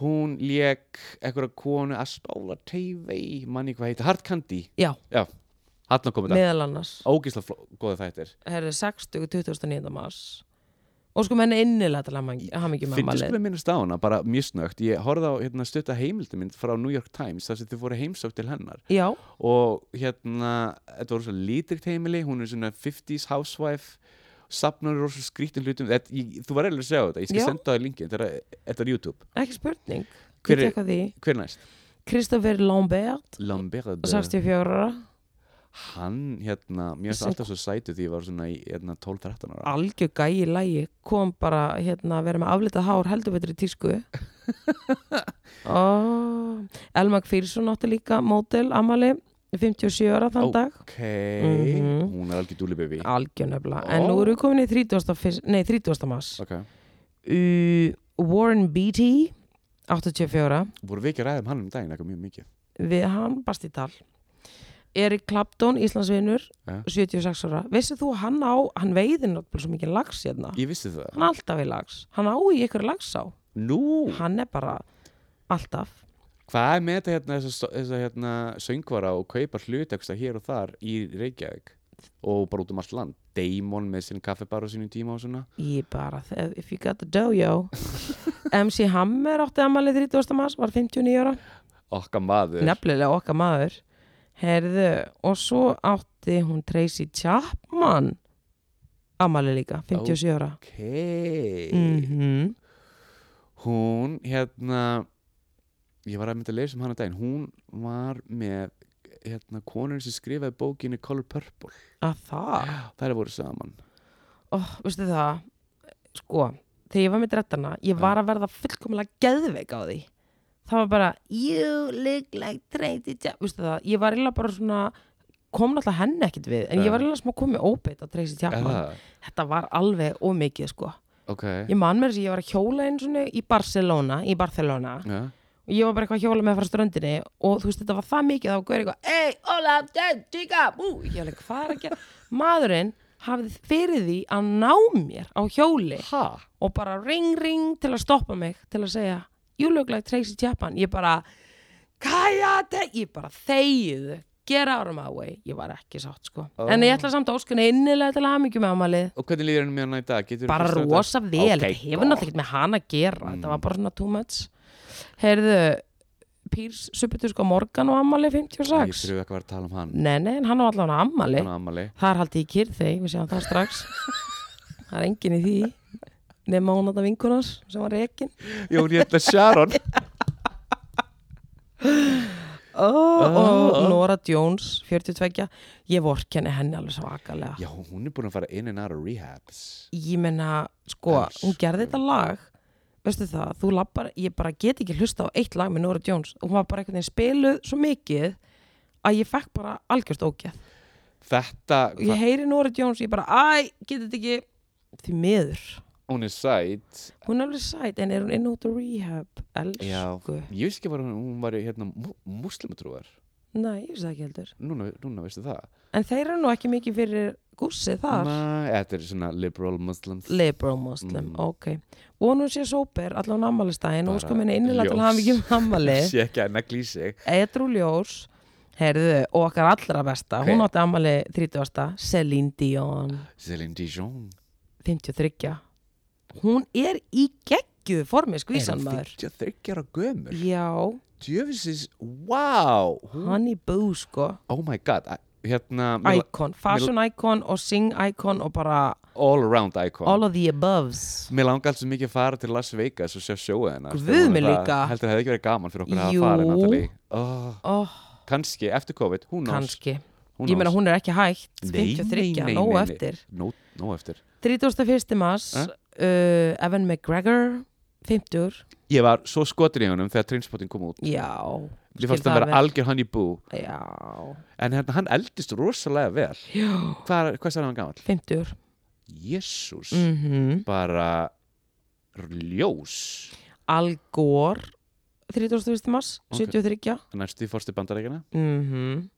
S2: hún lék einhverja konu að stóla TV manni hvað heit, Hard Candy
S1: já,
S2: hann kom þetta,
S1: meðal annars
S2: ógislega fló- góða þættir
S1: herri 60 2009. mars og sko menn innilega til hann ekki með
S2: finnst
S1: malið
S2: sko að minnast á hana, bara mjög snögt ég horfði á hérna, stötta heimildumind frá New York Times þar sem þau fóru heimsók til hennar
S1: já,
S2: og hérna þetta voru svo lítrikt heimili, hún er svona 50s housewife safnar rosa skrítin hlutum þetta, ég, þú var eða að segja þetta, ég skal
S1: Já.
S2: senda það í linkin þetta er, þetta er YouTube,
S1: ekki spurning Ég
S2: Hver er-
S1: tek á því.
S2: hver er næst?
S1: Christopher Lambert
S2: Lambert
S1: 64 ára
S2: hann hérna, mér finnst
S1: Sem-
S2: alltaf svo sætu því ég var svona í hérna, 12-13 ára
S1: algjör gæi í lægi kom bara hérna að vera með aflitað hár heldur betur í tísku
S2: *laughs*
S1: oh, Elma Kvírsson átti líka mótil Amali 57 ára þann
S2: Ó.
S1: dag
S2: ok,
S1: Mhm.
S2: hún er algjör dúli baby
S1: algjör nefnilega en nú
S2: Ó.
S1: erum við komin í 30. fyrst- nei, 30. mars
S2: ok,
S1: uh, Warren Beatty 84
S2: voru við ekki að ræða um hann um daginn eitthvað mjög mikið
S1: við hann barst í tal Erik Clapton, Íslandsvinur
S2: Ja.
S1: 76 ára, vissið þú að hann á hann veiði náttúrulega svo mikið lags hérna
S2: ég vissi það
S1: hann er alltaf í lags, hann á í ykkur lags á
S2: nú
S1: hann er bara alltaf
S2: Hvað er með þetta hérna, þess að hérna, söngvara og kaupa hlut ekstra hér og þar í Reykjavík og bara út um allt land Damon með sinn kaffibar á sínum tíma og svona
S1: ég bara, þe- if you got the dough, yo MC Hammer átti amalið 30. mars, var 59 ára
S2: okkar maður
S1: nefnilega okkar maður herðu, og svo átti hún Tracy Chapman amalið líka, 57 ára
S2: ok
S1: mhm
S2: hún hérna ég var að mynda að lesa um hana daginn hún var með hérna konur sem skrifaði bókinni Color Purple
S1: að það
S2: það er voru saman
S1: Ó, veistu það, sko, þegar ég var með drettana, ég var að verða fullkomlega geðveik á því. Það var bara, you look like Tracy Chapman, veistu það, ég var eiginlega bara svona, kom náttúrulega henni ekkit við, en ég var eiginlega smá komið óbeitt á Tracy
S2: er
S1: Chapman.
S2: það?
S1: Þetta var alveg ómikið, sko.
S2: ok
S1: Ég man mér þess að ég var að hjóla eins og í Barcelona, í Barcelona,
S2: ja.
S1: og ég var bara eitthvað að hjóla með frá ströndinni og þú veist, þetta var það mikið, þá gauði eitthvað, ey, Óla, den, tíka, bú, ég var leik, hvað er að gera? Maðurinn hafði fyrir því að ná mér á hjóli
S2: ha?
S1: og bara ring, ring til að stoppa mig, til að segja, you look like Tracy Chapman, ég bara, kajate, ég bara þegið, gera árum að vei, ég var ekki sátt, sko.
S2: Ó.
S1: En ég ætla samt að óskunni innilega til að hafa mikið með ámalið
S2: og hvernig líður henni með hana í dag? Getur
S1: bara rosa vel,
S2: Ok, Mm.
S1: þetta hefur
S2: gott.
S1: náttúrulega ekkert með hann að gera þetta var bara svona too much heyrðu, Pírs Subutusko Morgan og Amali
S2: ég
S1: 56
S2: þurfu ekki að vera að tala um hann
S1: nei, nei, en hann á allan Amali
S2: hann á ammali
S1: það er haldið í kyrð þegar, við séum það
S2: *laughs*
S1: strax það er engin í því nema hún átta vinkunars sem var rekin
S2: Jón hérna Sharon
S1: oh, og
S2: oh.
S1: Nora Jones 42, ég vorkenni henni alveg svakalega
S2: já hún er búin að fara in and out of rehabs
S1: ég menna, sko,
S2: Elsku.
S1: hún gerði þetta lag veistu það, þú lappar ég bara get ekki hlusta á eitt lag með Nora Jones og hún var bara einhvern veginn spiluð svo mikið að ég fekk bara algjörst ógeð
S2: þetta
S1: og ég heyri Nora Jones, ég bara, æ, get þetta ekki því miður,
S2: hún er sæt
S1: hún er alveg sæt en er hún inn út á rehab, elsku
S2: ég veist ekki bara hún, hún var hérna mú- múslimatrúar
S1: nei, ég veist það ekki heldur
S2: núna, núna veistu það
S1: en þeir eru nú ekki mikið fyrir gússi þar
S2: Nei, þetta er svona liberal muslims *laughs*
S1: liberal muslim,
S2: Mm.
S1: ok vonum sé sóper, allan ammælistæðin og
S2: Bara
S1: sko minni innilega til
S2: ljós.
S1: að hafa mikið um ammæli
S2: *laughs* sé ekki að negli í sig
S1: Edru Ljós heyrðu, og okkar allra besta
S2: Hver?
S1: hún átti ammali 30. Celine Dion
S2: Celine Dijon
S1: 53 hún er í geggjuð formi skvísan maður
S2: 53 ára gömur
S1: já,
S2: djöfisins, wow hún,
S1: hann í bú sko
S2: oh my god I- hérna, mér la-
S1: icon, fashion icon og sing icon og bara
S2: all around icon
S1: all of the aboves
S2: mér langar alls mikið að fara til Las Vegas og sjá sjóið hennar
S1: Guð
S2: Stefán,
S1: minn
S2: það-
S1: líka.
S2: heldur það hefði ekki verið gaman fyrir okkur að
S1: Jú.
S2: hafa farið Natalie oh,
S1: oh,
S2: kannski, eftir COVID, hún knows
S1: kannski,
S2: who
S1: ég meina
S2: knows?
S1: hún er ekki hægt
S2: Nei, nei,
S1: 53,
S2: nei,
S1: nóg
S2: nei, nei.
S1: eftir
S2: Nó, nó eftir
S1: 31. mars
S2: Eh?
S1: uh, Evan McGregor 50,
S2: ég var svo skotin í honum þegar Trainspotting kom út
S1: já
S2: ég
S1: Skil
S2: fannst hann
S1: það
S2: vera
S1: vel.
S2: algjör hann í bú
S1: já,
S2: en hérna, hann eldist rosalega vel
S1: já
S2: hvað, hvað sér hann gamall?
S1: 50
S2: Jésús,
S1: mm
S2: bara ljós
S1: Al Gore 31. mars,
S2: Ok.
S1: 73
S2: næstu fórstu bandarækina
S1: mm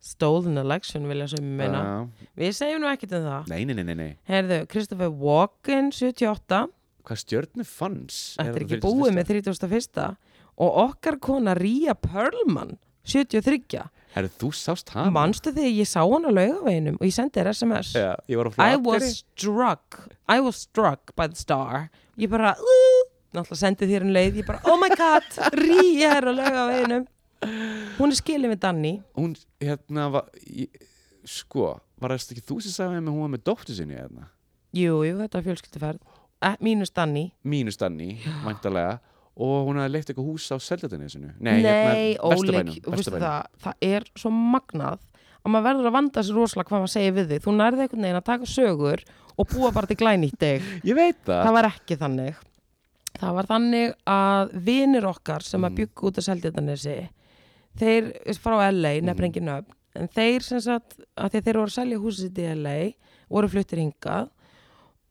S1: Stolen election vilja sem ég meina Við segjum nú ekkert um það
S2: nei, nei, nei, nei, nei
S1: Herðu, Christopher Walken 78
S2: hvað stjörnu fanns
S1: Þetta er ekki búið með 31. Og okkar kona Ria Perlman 73
S2: herru, þú sást hann
S1: Manstu þegar ég sá hann á laugaveginum og ég sendi þér SMS
S2: Já, ég var
S1: I
S2: á flateri
S1: was struck I was struck by the star ég bara uh, náttúrulega sendi þér en leið ég bara oh my god Ría er að löga á einum hún er skilin við Danny
S2: hún, hérna, var, ég, sko var það ekki þú sem sagði með hún var með dóttu sinni hérna,
S1: jú, jú, þetta er fjölskylduferð Eh, mínus Danny
S2: mínus Danni, væntalega og hún hafði leitt eitthvað hús á Seldatinni
S1: Nei,
S2: nei, hérna,
S1: Óleg,
S2: Vesturbænum,
S1: veistu
S2: Vesturbænum.
S1: það, það er svo magnað að maður verður að vanda sér rosalega hvað maður segir við þig þú nærði einhvern veginn að taka sögur og búa bara til glænýtt deg
S2: ég veit það,
S1: það var ekki þannig það var þannig að vinir okkar sem
S2: Mm.
S1: að byggu út að seldjartanesi þeir frá LA
S2: Mm.
S1: nefnir engin nöfn en þeir sem sagt að þeir, þeir voru að selja húsið sitt í LA voru fluttir hingað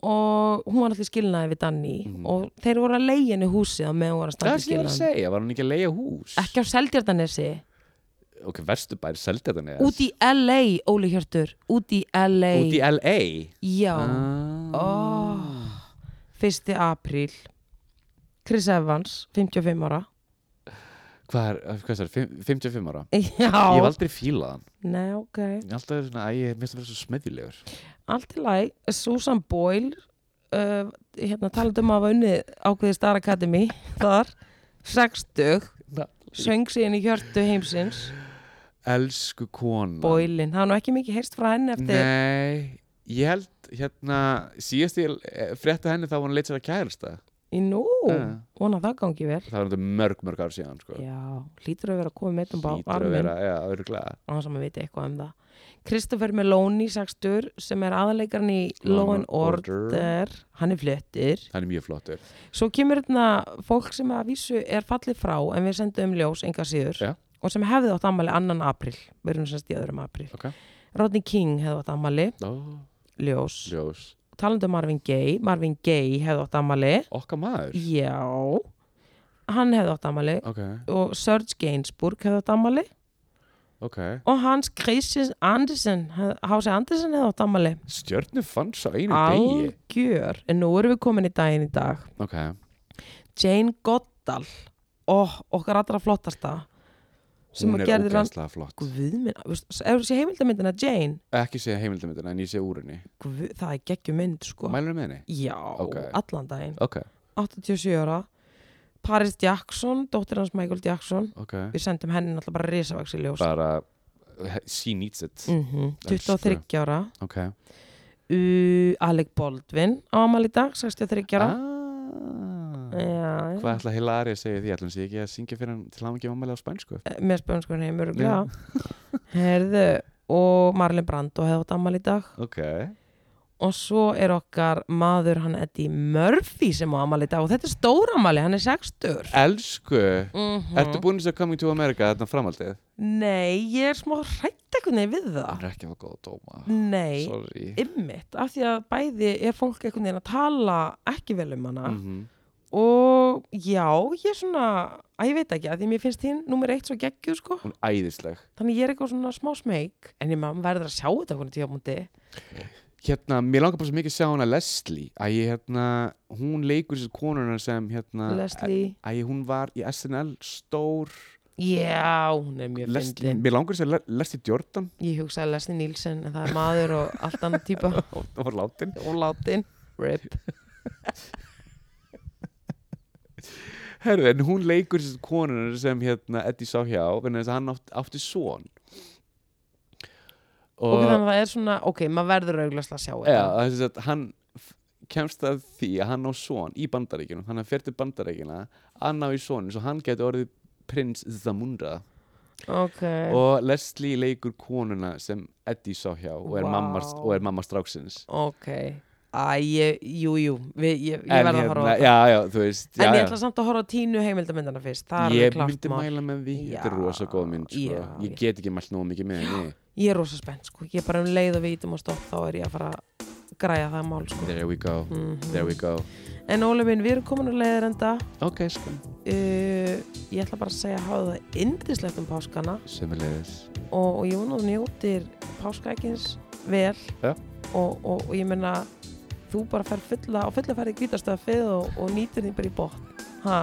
S1: og hún var alltaf skilnaði við Danni
S2: Mhm.
S1: og þeir voru að leiða henni húsið á meðan hún var að
S2: Það
S1: standa í
S2: er sem ég var að
S1: skilnaði
S2: segja, var hún ekki að leia hús?
S1: ekki á Seldjardanesi,
S2: Ok, Vesturbær, Seldetanés
S1: út í LA Óli Hjörtur, út í LA
S2: Út í Ah. LA
S1: já, Ó. 1. apríl Chris Evans, 55 ára
S2: Hvað er, hvað er það, 55 ára? Ég hef
S1: já,
S2: aldrei fílað hann
S1: nei ok
S2: Ég er Alltaf svona, æ, ég minnst að vera svo smeðjulegur
S1: allt í læg, Susan Boyle uh, hérna talandi um að hafa unnið ákveði Star Academy þar, sextug söng síðan í hjörtu heimsins
S2: Elsku kona
S1: Boylin, það er nú ekki mikið heyrst frá henni eftir
S2: Nei, ég held hérna síðast ég eh, frétti af henni þá var hún leitt sér að kærasta
S1: í nú,
S2: Eh.
S1: vona það gangi vel
S2: Það var þetta mörg, mörg ár síðan sko.
S1: já, hlýtur að vera að koma með um
S2: Hlýtur að
S1: arminn
S2: vera, já, örugglega.
S1: á þess að maður viti eitthvað um það Kristoffer Meloni, sextur sem er aðleikarn í Law and
S2: Order.
S1: Order hann er flettir
S2: Hann er mjög flottur
S1: Svo kemur þarna fólk sem að vísu er fallið frá en við sendum ljós enga síður
S2: Já.
S1: og sem hefði átt ammali annan april við erum semst í öðrum april
S2: Ok.
S1: Rodney King hefði átt ammali,
S2: Ó,
S1: ljós
S2: Ljós
S1: talandi um Marvin Gaye, Marvin Gaye hefði átt ammali
S2: Okka maður
S1: já hann hefði átt ammali
S2: Ok,
S1: og Serge Gainsbourg hefði átt ammali
S2: ok
S1: og Hans Christian Andersen hefði- H.C. Andersen hefði átt ammali
S2: Stjörnu fanns á einu degi
S1: algjör, en nú erum við komin í daginn í dag
S2: Ok,
S1: Jane Goddall oh, okkar allra flottasta sem
S2: hún
S1: að
S2: er
S1: gerði land
S2: ógæslega flott
S1: guð minn, ef þú sé heimildamindina Jane
S2: Ekki sé heimildamöndina en ég sé úr henni
S1: guð, það er geggjum mynd sko
S2: Mælum með henni?
S1: já,
S2: Ok.
S1: allan daginn
S2: Ok,
S1: 87 ára Paris Jackson, dóttir hans Michael Jackson
S2: ok
S1: við sendum henni náttúrulega bara risavax í ljós
S2: Bara, eh, she needs it
S1: mm 23 ára
S2: Ok
S1: uh, Alec Baldwin á amal í dag 63 ára
S2: Ah.
S1: Já,
S2: Hvað
S1: já.
S2: ætla Hilari að segja því? Ætlum sé ekki að syngja fyrir hann til hann ekki á spænsku?
S1: með spönskunni heimur herðu og Marlon Brando hefði átt amal í dag
S2: Ok
S1: og svo er okkar maður hann Eddie Murphy sem á amali dag og þetta er stór amali, hann er sextur
S2: Elsku,
S1: mm -hmm.
S2: ertu búin að segja Coming to America þarna framhaldið?
S1: Nei, ég er smá hrætt eitthvað nefn við það
S2: Það er ekki að fá góða dóma
S1: Ah. Nei,
S2: Sorry
S1: ymmit af því að bæði er fólk eitthvað nefn að tala ekki vel um hana
S2: Mhm.
S1: og já, ég er svona að ég veit ekki, að því mér finnst þín nummer eitt svo geggju sko,
S2: Hún er æðisleg
S1: þannig ég er eitthvað svona smá smeg en ég maður verður að sjá þetta hvernig tíðamúndi
S2: Hérna, mér langar bara svo mikið að sjá hana Leslie Æ, hérna, hún leikur sér konuna sem hérna
S1: Leslie,
S2: Æ, hún var í SNL stór
S1: já, hún er mjög
S2: Leslie,
S1: fyndin
S2: mér langar sér Leslie Jordan *laughs*
S1: Ég hugsaði Leslie Nielsen en það er maður og allt annað típa
S2: *laughs* Hún var látin
S1: og látin Rip
S2: Herðu, en hún leikur sér konuna sem hérna Eddie sá hjá Þannig að hann átt, átti son
S1: Ok, þannig að það er svona, ok, maður verður auglast að sjá
S2: Já,
S1: þetta
S2: það er sem sagt, hann f- kemst að því að hann á son í bandaríkjunum hann fer til bandaríkjuna, hann á í son svo hann getur orðið prins Zamunda
S1: Ok,
S2: og Leslie leikur konuna sem Eddie sá hjá og er,
S1: Vá.
S2: mamma, og er mamma stráksins
S1: ok Æ, ég, jú, jú, við, ég, ég
S2: En hérna,
S1: verð að horfa á þetta
S2: já, já, þú veist já,
S1: En ég
S2: já.
S1: ætla samt að horfa á tínu heimildamindana fyrst Það er
S2: Ég
S1: alveg klart
S2: myndi
S1: mál
S2: mæla með því, þetta er
S1: Já,
S2: rosa góð mynd sko.
S1: já,
S2: Ég
S1: ég-
S2: get ekki mælt nóg mikið með henni
S1: Ég er rosa spennt, sko Ég er bara um leið og við ítum og stopp Þá er ég að fara að græja það mál, sko
S2: There we go,
S1: Mhm.
S2: there we go
S1: En Óli minn, við erum komin að leiðir enda
S2: Ok, sko,
S1: uh, Ég ætla bara að segja að hafa það yndislegt um páskana
S2: sömulegis
S1: og, og ég vona að þú njótir páskaekins vel
S2: Já.
S1: og, og, og ég meina þú bara fer fulla á fulla ferði gvítastöfið og, og nýtir þín bara í botn ha,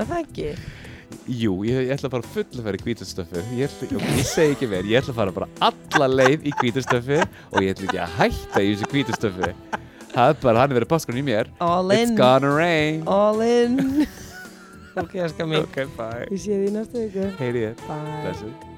S1: er það ekki
S2: Jú, ég, ég ætla að fara full að fara í hvítastöfið ég, ætla- ok, ég segi ekki verið, ég ætla að fara bara alla leið í hvítastöfið og ég ætla ekki að hætta í þessu hvítastöfið Það er bara, hann er verið páskan í mér
S1: all
S2: It's
S1: in,
S2: gonna rain
S1: all in ok, það skal mér
S2: *laughs* Ok, bye
S1: ég sé því næstu viku
S2: Heyrið þér,
S1: bye
S2: blessed